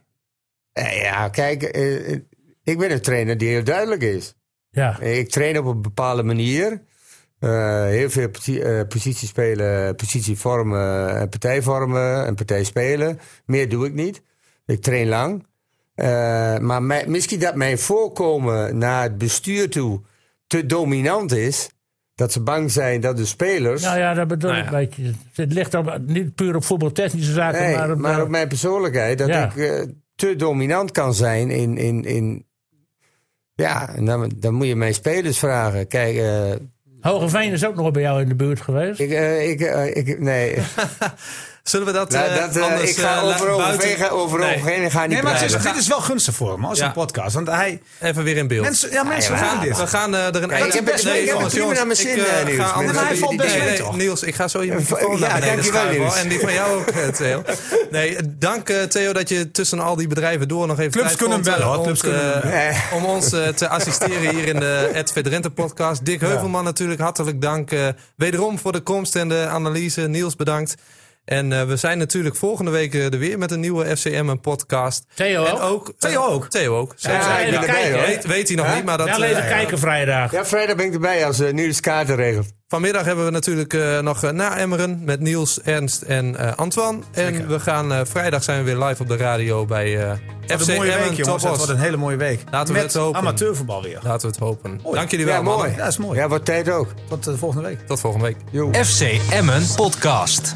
Speaker 6: Eh, ja, kijk, eh, eh, ik ben een trainer die heel duidelijk is.
Speaker 1: Ja.
Speaker 6: Ik train op een bepaalde manier. Eh, heel veel posi- eh, positie spelen, positie vormen en partij vormen en partij spelen. Meer doe ik niet. Ik train lang. Eh, maar mijn- misschien dat mijn voorkomen naar het bestuur toe te dominant is. Dat ze bang zijn dat de spelers.
Speaker 1: Nou ja, dat bedoel
Speaker 4: Nou
Speaker 1: ik
Speaker 4: ja.
Speaker 1: een beetje. Het ligt op, niet puur op voetbaltechnische zaken,
Speaker 6: Nee,
Speaker 1: maar op... eh,
Speaker 6: mijn persoonlijkheid. Dat
Speaker 1: Ja.
Speaker 6: ik eh, te dominant kan zijn in... in, in ja, en dan, dan moet je mijn spelers vragen. Kijk, eh,
Speaker 1: Hogeveen is ook nog bij jou in de buurt geweest.
Speaker 6: ik, eh, ik, eh, ik... Nee,
Speaker 4: Zullen we dat,
Speaker 6: nou,
Speaker 4: eh,
Speaker 6: dat, eh,
Speaker 4: anders...
Speaker 6: ik ga
Speaker 4: eh,
Speaker 6: over
Speaker 4: laten
Speaker 6: overheen,
Speaker 4: buiten-
Speaker 6: ga over
Speaker 4: Nee,
Speaker 6: overheen en ga niet
Speaker 5: Nee, maar het is,
Speaker 6: praten.
Speaker 5: dit is wel gunstig voor hem, als
Speaker 4: Ja.
Speaker 5: een podcast. Want hij,
Speaker 4: Even weer in beeld.
Speaker 5: mensen, ja, mensen
Speaker 6: ja,
Speaker 5: willen dit.
Speaker 4: we gaan eh, er een
Speaker 6: ik heb best- ik heb
Speaker 4: jongens,
Speaker 6: het prima
Speaker 4: jongens,
Speaker 6: naar mijn zin,
Speaker 4: ik, eh,
Speaker 6: eh, Niels.
Speaker 4: ga anders-
Speaker 5: Maar hij valt best
Speaker 4: nee,
Speaker 5: mee,
Speaker 4: nee,
Speaker 5: toch?
Speaker 4: Niels, ik ga zo je microfoon
Speaker 6: Ja,
Speaker 4: naar beneden
Speaker 6: dankjewel,
Speaker 4: schuiven, hoor.
Speaker 6: Niels.
Speaker 4: En die van jou ook, eh, Theo. Nee, dank eh, Theo dat je tussen al die bedrijven door nog even
Speaker 5: Clubs
Speaker 4: tijd
Speaker 5: kunnen
Speaker 4: vond,
Speaker 5: bellen,
Speaker 4: eh,
Speaker 5: hoor.
Speaker 4: om
Speaker 5: Clubs
Speaker 4: te-
Speaker 5: kunnen
Speaker 6: bellen.
Speaker 4: Om ons eh, te assisteren hier in de Ed Verdrente podcast. Dick Heuvelman natuurlijk, hartelijk dank. eh, wederom voor de komst en de analyse. Niels, bedankt. En eh, we zijn natuurlijk volgende week eh, er weer met een nieuwe FCM podcast.
Speaker 1: Theo
Speaker 4: en
Speaker 1: ook?
Speaker 4: ook. eh,
Speaker 5: Theo ook?
Speaker 4: Theo ook.
Speaker 1: Ja,
Speaker 4: Zo zijn
Speaker 1: even
Speaker 4: we.
Speaker 1: kijken,
Speaker 4: Ja,
Speaker 1: hè?
Speaker 4: weet, weet hij nog niet, maar dat...
Speaker 1: Wel even
Speaker 4: eh,
Speaker 1: kijken vrijdag.
Speaker 6: Ja, vrijdag ben ik erbij als eh Niels kaarten regelt.
Speaker 4: Vanmiddag hebben we natuurlijk eh, nog eh, na Emmeren met Niels, Ernst en eh, Antoine. En we gaan eh, vrijdag zijn we weer live op de radio bij eh
Speaker 5: Wat
Speaker 4: FC
Speaker 5: een mooie
Speaker 4: Emmen
Speaker 5: week, jongens. Dat
Speaker 4: Topos.
Speaker 5: wordt een hele mooie week.
Speaker 4: Laten we
Speaker 5: Met
Speaker 4: het hopen.
Speaker 5: amateurvoetbal weer.
Speaker 4: Laten we het hopen. Dank jullie wel,
Speaker 6: Ja, mooi.
Speaker 4: mannen.
Speaker 5: Ja, dat is mooi.
Speaker 4: eh,
Speaker 6: Ja, wordt tijd ook.
Speaker 5: Tot de volgende week.
Speaker 4: Tot volgende week.
Speaker 3: FC Emmen podcast.